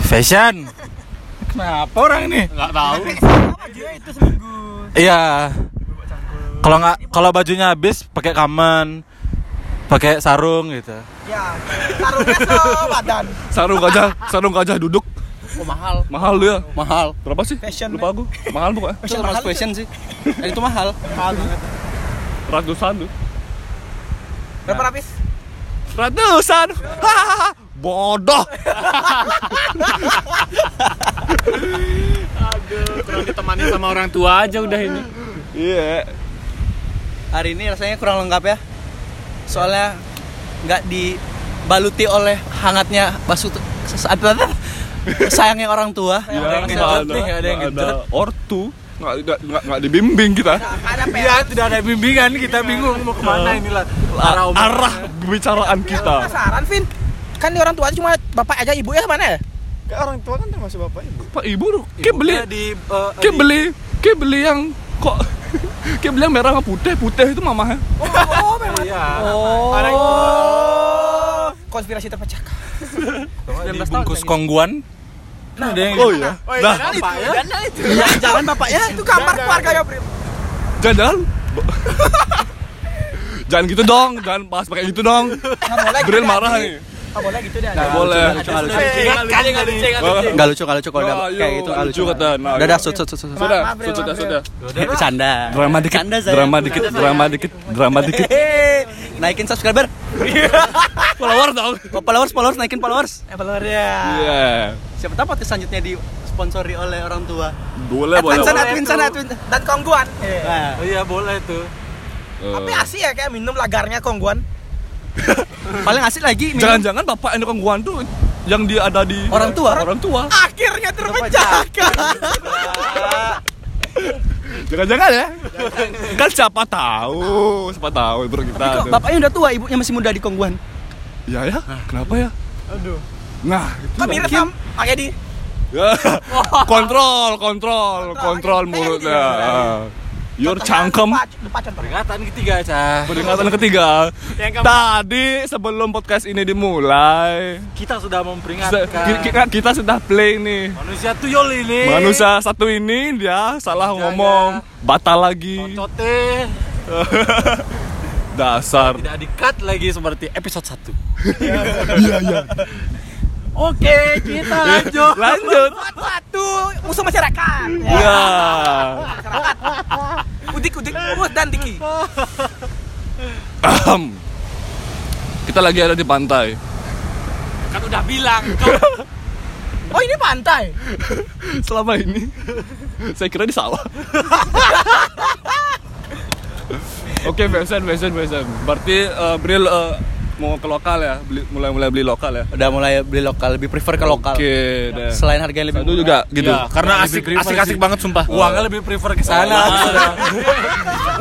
F: fashion kenapa orang ini
D: Nggak tahu.
F: iya kalau nggak kalau bajunya habis pakai kamen pakai sarung gitu
C: Ya, taruhnya ke badan.
B: Sarung gajah, sarung gajah duduk.
E: Oh, mahal.
B: Mahal dia.
E: Mahal.
B: Berapa sih?
C: Fashion,
B: Lupa aku. Mahal pokoknya.
E: Itu termasuk fashion sih. Dan itu mahal.
B: Ratusan tuh.
C: Berapa lapis?
B: Ratusan. Hahaha. Bodoh.
D: Kurang ditemani sama orang tua aja udah ini.
B: Iya.
E: Hari ini rasanya kurang lengkap ya. Soalnya nggak dibaluti oleh hangatnya basu sesaat sayangnya orang tua.
B: Ya,
E: Sayangnya
B: nggak
E: orang
B: ada,
E: tua. Nggak ada yang
B: nggak ada
E: gendut.
B: ortu, nggak nggak nggak- nggak dibimbing kita.
C: Ada ya? PR.
F: Iya, tidak ada bimbingan kita bingung mau kemana inilah arah
B: Eh,
F: Iya,
B: Arah pembicaraan kita.
C: Penasaran, Vin? Kan di orang tua cuma bapak aja ibu ya mana ya?
A: Kayak orang tua kan termasuk bapak ibu.
B: Pak Ibu, tuh, kayak beli,
F: Iya, di
B: kayak beli, kayak beli yang kok kayak beli yang merah sama putih, putih itu mamahnya.
C: Oh, memang.
E: Oh.
C: Oh. Konspirasi terpecahkan.
B: kan,
F: dibungkus kongguan nah, ada yang
B: Oh iya. Nah,
E: Ya, jangan bapaknya.
C: Itu gambar keluarga ya, Brim.
B: jangan jangan. jangan gitu dong, jangan pas pakai gitu dong. Bril marah nih.
C: Enggak boleh gitu Iya, deh.
B: Nggak boleh.
C: Eh,
E: Nggak lucu kalau lucu kalau udah
B: Ayo,
E: kayak gitu nggak
B: lucu kata. Nah,
E: Udah
B: iya.
E: dah sut sut sut sut.
B: Sudah,
C: Maaf, Bril,
B: sudah,
C: maaf, Bril.
B: sudah.
E: Bercanda.
B: Drama dikit,
E: Bercanda, saya.
B: drama dikit, drama dikit, drama dikit.
E: Hehehe. Naikin subscriber.
B: Follower dong.
E: Oh, followers followers naikin followers.
C: Eh, belum ya.
B: Iya.
E: Siapa tahu podcast selanjutnya disponsori oleh orang tua.
B: Boleh, Ya, boleh. boleh.
E: Advin sana, Advin sana, Advin.
C: Dan kongguan.
E: Nah,
F: Oh iya boleh tuh.
B: Eh,
C: Tapi asik ya kayak minum lagarnya kongguan.
E: paling asik lagi minum
B: Jangan-jangan bapak yang kongguan tuh yang dia ada di
E: Orang tua?
B: orang tua.
C: Akhirnya terpecahkan.
B: Jangan-jangan ya? kan siapa tahu, siapa tahu bro kita.
E: Kok
B: tuh.
E: bapaknya udah tua, ibunya masih muda di kongguan.
B: Ya ya, kenapa ya? Aduh. Nah, itu
C: Kok mirip sama Pak Edi?
B: Ya. kontrol, kontrol, kontrol mulutnya. Ah. Your cangkem.
C: Depan contoh.
F: Peringatan
D: Kan
F: ketiga, Cah.
B: Peringatan ketiga. Tadi sebelum podcast ini dimulai,
F: Kita sudah
B: se- ki-
F: memperingatkan.
B: kita, kita sudah play nih.
F: Manusia tuyul ini.
B: Manusia satu ini dia salah
F: Jangan.
B: ngomong, batal lagi.
F: Cocote
B: Dasar.
F: tidak di-cut lagi seperti episode 1.
B: Iya, iya.
F: Oke, kita lanjut.
B: Lanjut.
C: Satu musuh masyarakat.
B: Ya.
C: Masyarakat. Udik, udik, urut dan diki.
B: Ahem. Kita lagi ada di pantai.
D: Kan udah bilang.
C: Oh, ini pantai.
B: Selama ini saya kira di sawah. Oke, fashion, fashion, fashion. Berarti eh, Bril eh, mau ke lokal ya, beli- mulai-mulai beli lokal ya.
E: Udah mulai beli lokal, lebih prefer ke lokal.
B: Oke, dah.
E: Selain harganya lebih
B: Itu
E: murah.
B: juga gitu.
D: Ya, karena asik asik asik banget sumpah.
F: Uangnya lebih prefer ke sana.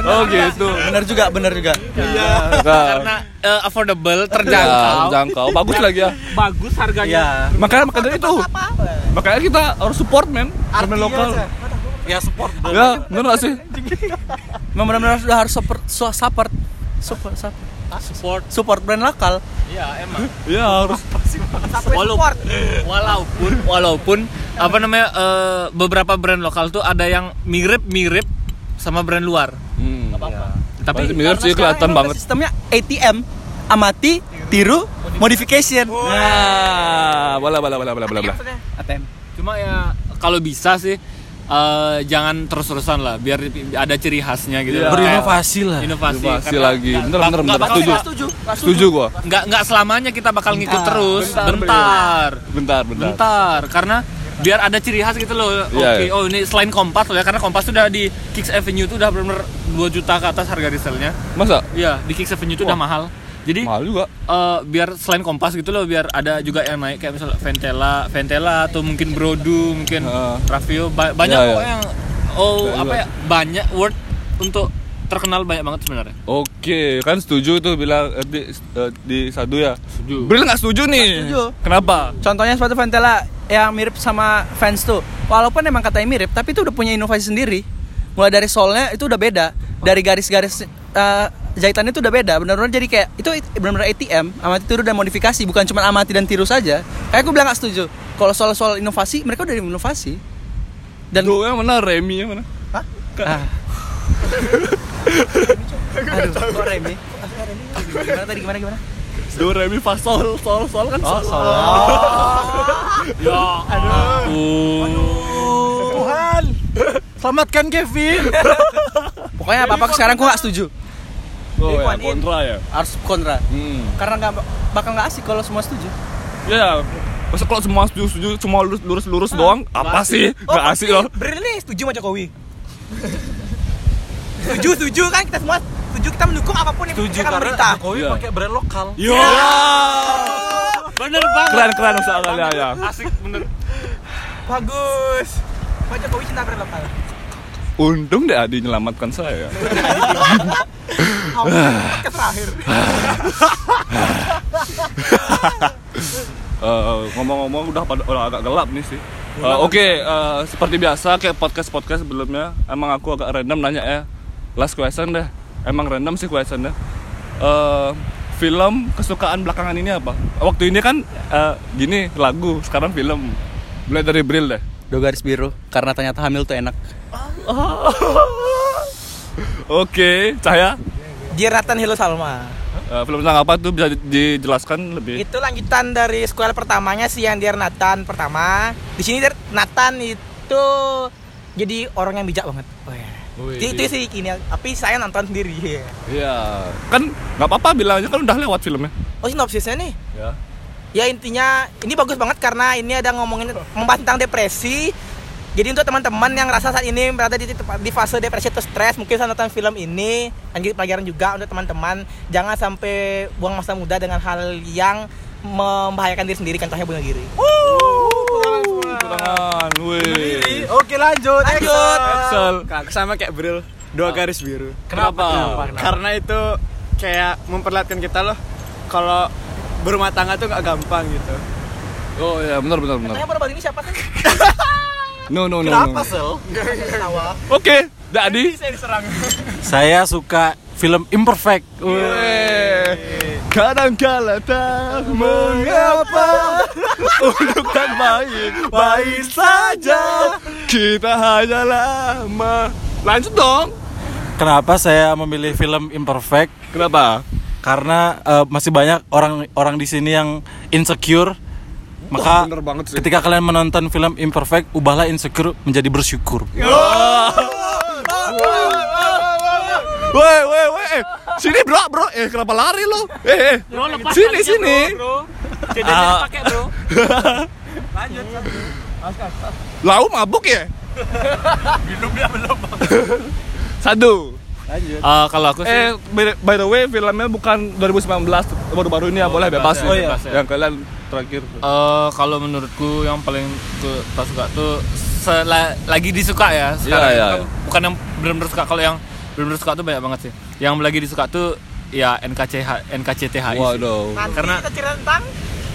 B: Oh gitu.
E: Bener juga, bener juga.
B: Nah,
D: Karena eh, affordable,
B: terjangkau.
D: terjangkau.
B: terjangkau. Bagus lagi ya.
D: Bagus harganya.
B: Makanya makanya itu. Makanya kita harus support men, permen lokal.
F: ya support dong.
B: Ya, bener gak sih?
E: Memang benar-benar sudah harus support, su- support, support, support,
D: Support.
E: support brand lokal.
D: Iya, emang.
B: Iya harus.
D: Walaupun walaupun walaupun apa namanya eh, beberapa brand lokal tuh ada yang mirip-mirip sama brand luar.
B: Hmm.
D: Tapi
B: Pasti mirip sih
E: Karena sekarang
B: kelihatan
E: emang
B: banget.
E: Sistemnya ATM, amati, tiru, modification.
B: Nah, bola bola bola bola bola bola.
E: ATM.
D: Cuma ya kalau bisa sih eh, jangan terus-terusan lah, biar ada ciri khasnya gitu.
B: Iya.
D: Kayak
F: Berinovasi lah.
D: Inovasi,
B: Inovasi
D: karena
B: lagi.
D: nggak-
B: Bener,
D: nggak-
B: bener,
D: nggak
B: bener.
D: bakal-
B: Setuju.
E: Setuju.
B: Setuju gua.
D: Nggak nggak selamanya kita bakal ngikut terus.
B: Bentar,
D: Bentar.
B: Bentar, bentar.
D: Bentar, karena biar ada ciri khas gitu loh. Oke,
B: Iya, iya.
D: oh ini selain Kompas loh ya, karena Kompas tuh udah di Kicks Avenue tuh udah bener-bener 2 juta ke atas harga resellnya.
B: Masa?
D: Iya, di Kicks Avenue tuh udah mahal. Jadi
B: Mahal juga.
D: eh, biar selain Kompas gitu loh, biar ada juga yang naik kayak misalnya Ventela, Ventela atau mungkin Brodu, mungkin
B: Heeh.
D: Ravio, ba- banyak
B: Iya, iya.
D: kok yang oh
B: Banyak
D: apa
B: juga.
D: ya banyak word untuk terkenal banyak banget sebenarnya.
B: Oke, kan setuju tuh bilang eh, di, eh, di sadu ya.
D: Setuju.
B: Bril nggak setuju nih.
E: setuju.
B: Kenapa?
E: Contohnya sepatu Ventela yang mirip sama fans tuh. Walaupun emang katanya mirip, tapi itu udah punya inovasi sendiri. Mulai dari solnya itu udah beda, dari garis-garis eh, jahitannya itu udah beda. Benar-benar jadi kayak itu benar-benar ATM, amati tiru dan modifikasi, bukan cuma amati dan tiru saja. Kayak aku bilang gak setuju. Kalau soal-soal inovasi, mereka udah inovasi. Dan
B: Duh, yang mana Remy yang mana?
E: Ah. Aduh, kok Remy? Gimana tadi gimana gimana?
B: Do Remy fa sol sol sol kan. sol.
F: Tuhan. Selamatkan Kevin.
E: Pokoknya apa apa sekarang gua nggak setuju.
B: Oh, kan? ya,
E: One in.
B: kontra ya.
E: Harus kontra.
B: Hmm.
E: Karena nggak bakal nggak asik kalau semua setuju.
B: Ya, masa kalau semua setuju setuju cuma lurus lurus lurus doang? Apa sih? Nggak asik loh.
C: Bril nih setuju sama Jokowi. setuju, setuju kan kita semua setuju kita mendukung apapun yang
F: Tujuh
C: dikerjakan
F: karena
C: pemerintah.
F: Jokowi
B: Iya.
F: pakai brand lokal.
B: Yo.
D: Bener banget.
B: Ya. Keren keren soalnya ya. ya.
D: Asik bener.
C: Bagus. Pak Jokowi cinta brand lokal.
B: Untung deh Adi nyelamatkan saya.
C: Podcast terakhir.
B: Eh, ngomong-ngomong udah pada udah agak gelap nih sih. Eh, Oke, eh, seperti biasa kayak podcast-podcast sebelumnya emang aku agak random nanya ya. Last question deh. Emang random sih questionnya. Eh, film kesukaan belakangan ini apa? Waktu ini kan eh, gini lagu, sekarang film. Mulai dari Bril deh.
E: Do garis biru karena ternyata hamil tuh enak.
B: Oh. Oke, Cahaya.
C: Jiratan Hilo Salma.
B: eh, film tentang apa tuh bisa di- dijelaskan lebih?
C: Itu lanjutan dari sekolah pertamanya sih yang dia Nathan pertama. Di sini dia- Nathan itu jadi orang yang bijak banget. Oh, ya.
B: Wih.
C: Jadi itu sih ini, tapi saya nonton sendiri. Iya.
B: Iya. Kan nggak apa-apa bilang aja kan udah lewat filmnya.
C: Oh sinopsisnya nih.
B: Ya.
C: Ya intinya ini bagus banget karena ini ada ngomongin membahas tentang depresi. Jadi untuk teman-teman yang rasa saat ini berada di, di fase depresi atau stres, mungkin bisa nonton film ini. Dan jadi pelajaran juga untuk teman-teman, jangan sampai buang masa muda dengan hal yang membahayakan diri sendiri, contohnya bunuh diri.
B: Tangan, wih.
F: Oke lanjut.
C: Lanjut.
B: Excel.
A: Kak, sama kayak Bril, dua garis biru.
B: Ah. Kenapa?
A: Karena itu kayak memperlihatkan kita loh kalau berumah tangga tuh nggak gampang gitu.
B: Oh ya benar benar benar.
C: Contohnya baru-baru ini siapa sih?
B: No no no. no.
F: Kenapa sel?
B: Oke, jadi
F: Saya suka film Imperfect.
B: kadang kala tak mengapa untuk tak baik baik saja kita hanyalah ma- lanjut dong
F: Kenapa saya memilih film Imperfect?
B: kenapa
F: Karena eh, masih banyak orang orang di sini yang insecure. Maka
B: bener banget sih.
F: ketika kalian menonton film Imperfect, ubahlah insecure menjadi bersyukur.
B: Ya. Woi, woi, woi, eh, sini bro, bro, eh kenapa lari lo? Eh, eh, sini, sini. Ah. Lau mabuk ya? Minumnya belum. Sadu.
D: Eh, kalau aku sih
B: Eh, by, by the way, filmnya bukan 2019 baru-baru ini ya, boleh bebas.
D: bebas ya,
B: nih.
D: Oh, iya. bebas ya.
B: Yang kalian terakhir.
D: eh, kalau menurutku yang paling tuh tak suka tuh sela- lagi disuka ya sekarang
B: Iya, iya,
D: Bukan-
B: iya.
D: bukan yang benar-benar suka kalau yang benar-benar suka tuh banyak banget sih yang lagi disuka tuh ya NKCH NKCTHI sih.
B: Waduh.
C: Nanti
D: Karena-
C: kita cerita tentang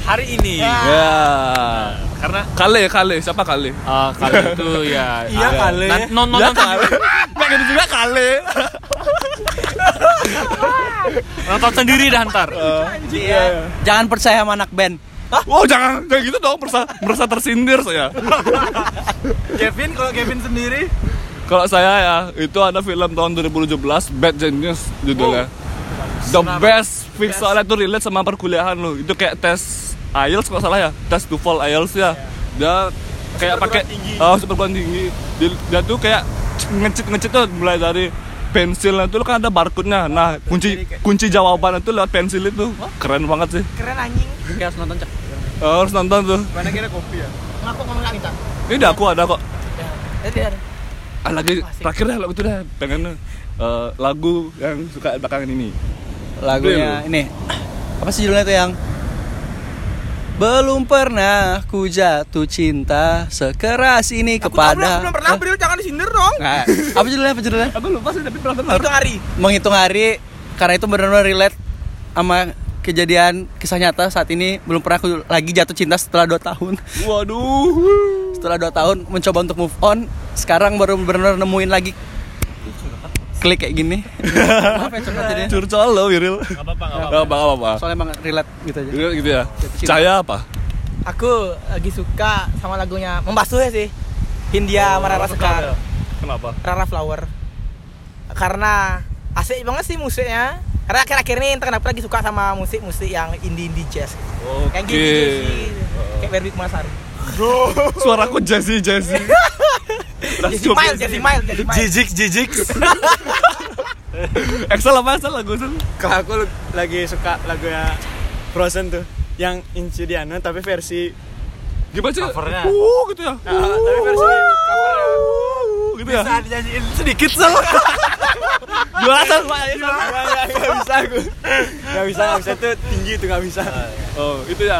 D: hari ini
B: Ya.
D: karena
B: Kale, Kale, siapa Kale?
D: eh, kalau itu ya
F: Iya,
D: ada.
F: kali.
D: Nan- non non
B: Ya,
D: nonton
B: kali.
D: nggak gitu juga kali nonton sendiri dah ntar
F: Iya,
C: Iya.
E: Jangan percaya sama anak band.
B: Wow, jangan jangan gitu dong, merasa merasa tersindir saya.
F: Kevin kalau Kevin sendiri
B: Kalau saya ya, itu ada film tahun 2017 Bad Genius judulnya. The best fix soalnya itu relate sama perkuliahan lo. Itu kayak tes IELTS kalau salah ya, tes TOEFL IELTS ya. Dia kayak pakai oh, perguruan tinggi. Dia, dia tuh kayak ngecit ngecit tuh mulai dari pensilnya tuh kan ada barcode-nya. Nah, kunci kunci jawaban itu lewat pensil itu. Keren banget sih.
C: keren anjing
E: Oke, harus nonton, Cak.
B: Eh, harus nonton tuh.
A: Mana kira kopi ya?
C: kenapa ngomong lagi cak Eh,
B: Ini udah aku ada kok.
C: jadi
B: Ah, lagi terakhir dah lagu itu dah pengen eh, lagu yang suka belakangan ini.
E: Lagunya
B: Betul.
E: ini. Apa sih judulnya tuh yang belum pernah ku jatuh cinta sekeras ini kepada
C: belum
F: Eh.
C: pernah beliau jangan disindir dong
E: Nggak. apa judulnya apa judulnya
B: Aku lupa sih tapi pernah dengar.
C: itu hari
E: menghitung hari karena itu benar-benar relate sama kejadian kisah nyata saat ini belum pernah aku lagi jatuh cinta setelah 2 tahun
B: Waduh.
E: setelah 2 tahun mencoba untuk move on sekarang baru benar-benar nemuin lagi klik kayak gini maaf ya curhat ini
B: Curcol lo, Wiril.
D: apa-apa, nggak
B: Enggak apa-apa. apa-apa.
E: soalnya emang relate gitu aja
B: Wiril gitu ya.
E: Cinta.
B: Cahaya apa?
C: aku lagi suka sama lagunya membasuh ya sih
F: Oh,
C: Hindia Marara Sekar
F: ya.
B: Kenapa?
C: Rara Flower karena asik banget sih musiknya karena akhir-akhir ini entah kenapa lagi suka sama musik-musik yang indie-indie jazz
B: Oke.
C: kayak gini sih
F: Oh.
C: kayak Berwik Masari
B: Suaraku jazzy jazzy. Udah
C: Jazzy
B: cukup.
C: Miles Jazzy Miles Jazzy Miles
F: jijik jijik
B: Excel apa Excel lagu Excel?
A: Kalau aku lagi suka lagu ya Frozen tuh yang Incidiano tapi versi
B: Gimana sih?
F: Covernya.
B: Uh, gitu ya.
A: Ah, tapi versi covernya
B: Uh, gitu ya.
F: nyanyiin sedikit sel
B: Jelasan Pak.
A: Nggak, nggak, nggak bisa aku Gak bisa, gak bisa tuh tinggi tuh gak bisa Iya.
B: Oh, itu ya.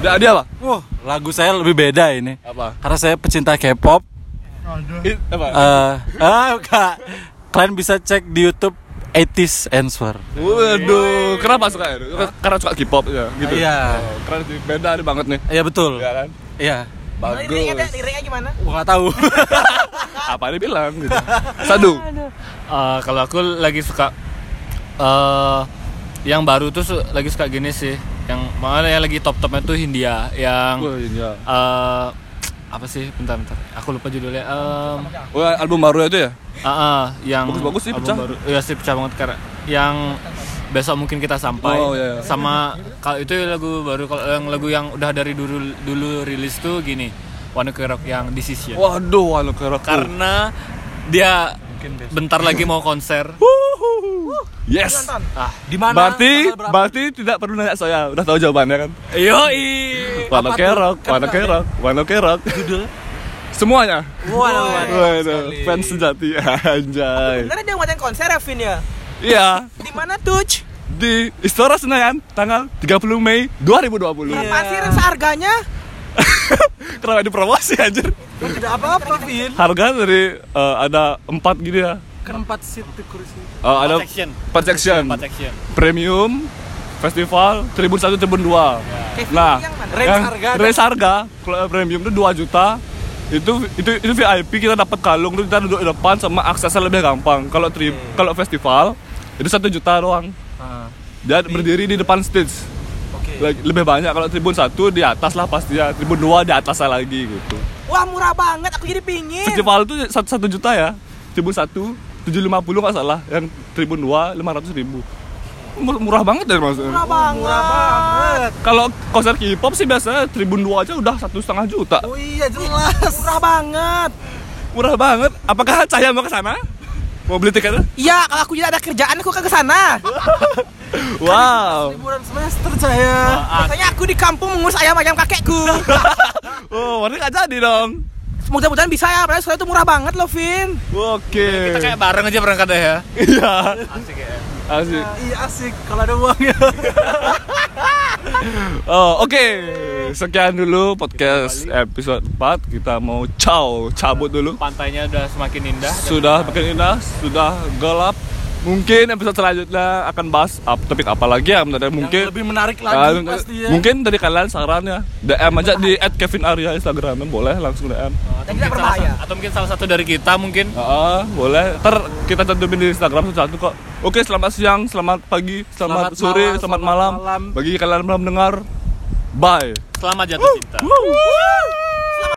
B: Udah dia apa?
F: wah lagu saya lebih beda ini
B: Apa?
F: karena saya pecinta K-pop
B: It- apa?
F: Eh, ah enggak. kalian bisa cek di YouTube 80s Answer
B: Waduh, kenapa suka ya? Karena suka K-pop ya, gitu.
F: iya
B: Oh, keren sih, beda nih banget nih.
F: iya betul
B: Ya kan?
F: iya
C: Nah, liriknya ada-
B: Bagus.
C: liriknya gimana?
F: gua nggak tahu
B: Apa dia bilang gitu. Sadu.
D: Eh, kalau aku lagi suka eh yang baru tuh su- lagi suka gini sih yang malah yang lagi top topnya tuh Hindia
B: Wah,
D: yang
B: ini ya.
D: eh apa sih bentar bentar aku lupa judulnya Em,
B: Wah, album baru itu ya?
D: ah, ah, yang
B: Bagus-bagus sih,
D: album
B: pecah.
D: baru. iya sih pecah banget karena yang besok mungkin kita sampai
B: Oh, iya, iya.
D: sama kalau itu lagu baru kalau yang lagu yang udah dari dulu dulu rilis tuh gini One Ok Rock yang Decision
B: Waduh, anu, waduh kerok.
D: karena dia bentar lagi mau konser
B: Yes.
D: ah
F: di mana
B: Berarti
F: Tanggal berapa?
B: berarti tidak perlu nanya saya, udah tahu jawabannya kan?
D: yoi
B: Wano kerok,
F: Kan
B: wano kerok, wano kerok. Judul semuanya. Waduh, fans sejati anjay.
C: Bener dia ngadain konser ya Vin ya?
B: Iya,
C: Di mana tuh? Ci?
B: di Istora Senayan tanggal 30 Mei 2020.
F: Iya.
C: Berapa sih Ren, seharganya?
B: Kenapa dipromosi anjir?
F: tidak apa-apa Vin
B: Harga dari eh, ada 4 gini ya.
F: kan empat seat di kursi
B: Eh, ada
D: Empat section.
B: empat section.
D: Empat section.
B: Premium, festival, tribun 1, tribun 2.
C: Kevin
B: Nah,
C: yang mana?
F: Range harga ada-
B: range harga kalau yang premium itu 2 juta. Itu itu itu VIP kita dapat kalung terus kita duduk di depan sama aksesnya lebih gampang. Kalau tri kalau festival itu 1 juta doang. Dia berdiri di depan stage.
F: Ah. oke
B: Lagi- Lebih banyak kalau tribun 1 di atas lah pastinya, tribun 2 di atasnya lagi gitu.
F: Eh.
C: Wah murah banget, aku jadi pingin
B: Festival itu 1 juta ya. Tribun 1 750 nggak salah, yang tribun 2 500 ribu. Mur- Murah banget ya maksudnya.
C: Murah banget
B: Kalau konser K-pop sih biasanya Tribun 2 aja udah satu setengah juta.
C: Oh iya jelas Murah banget
B: Murah banget. Apakah Cahaya mau ke sana? Mau beli tiketnya?
C: Iya kalau aku tidak ada kerjaan aku akan ke sana
B: Wow.
F: liburan semester saya
C: Biasanya aku di kampung mengurus ayam-ayam kakekku
B: Oh, warnanya nggak jadi dong.
C: mudah-mudahan bisa ya padahal soalnya itu murah banget loh Vin
B: Oke.
D: Kita kayak bareng aja berangkat deh ya.
B: Iya. Asik.
F: Iya asik kalau ada uangnya.
B: Oh, oke. Sekian dulu podcast episode 4. Kita mau ciao, cabut dulu.
D: Pantainya udah semakin indah.
B: Sudah makin indah, sudah gelap. Mungkin episode selanjutnya akan bahas ap- topik apa lagi ya menurut saya. mungkin
F: Lebih menarik
B: Ah,
F: lagi
B: mungkin-
F: pastinya.
B: Mungkin dari kalian sarannya DM aja di @kevinarya Instagramnya boleh langsung DM.
C: Dan
D: Atau mungkin
C: tidak
D: salah
C: berbahaya.
D: sa- atau mungkin salah satu dari kita mungkin
B: Ah, boleh. Ter kita tentuin di Instagram satu kok. Oke, selamat siang, selamat pagi, selamat,
F: Selamat malam,
B: sore, selamat,
F: selamat
B: malam.
F: malam.
B: Bagi kalian yang belum dengar, bye.
D: selamat jatuh cinta.
B: Woo!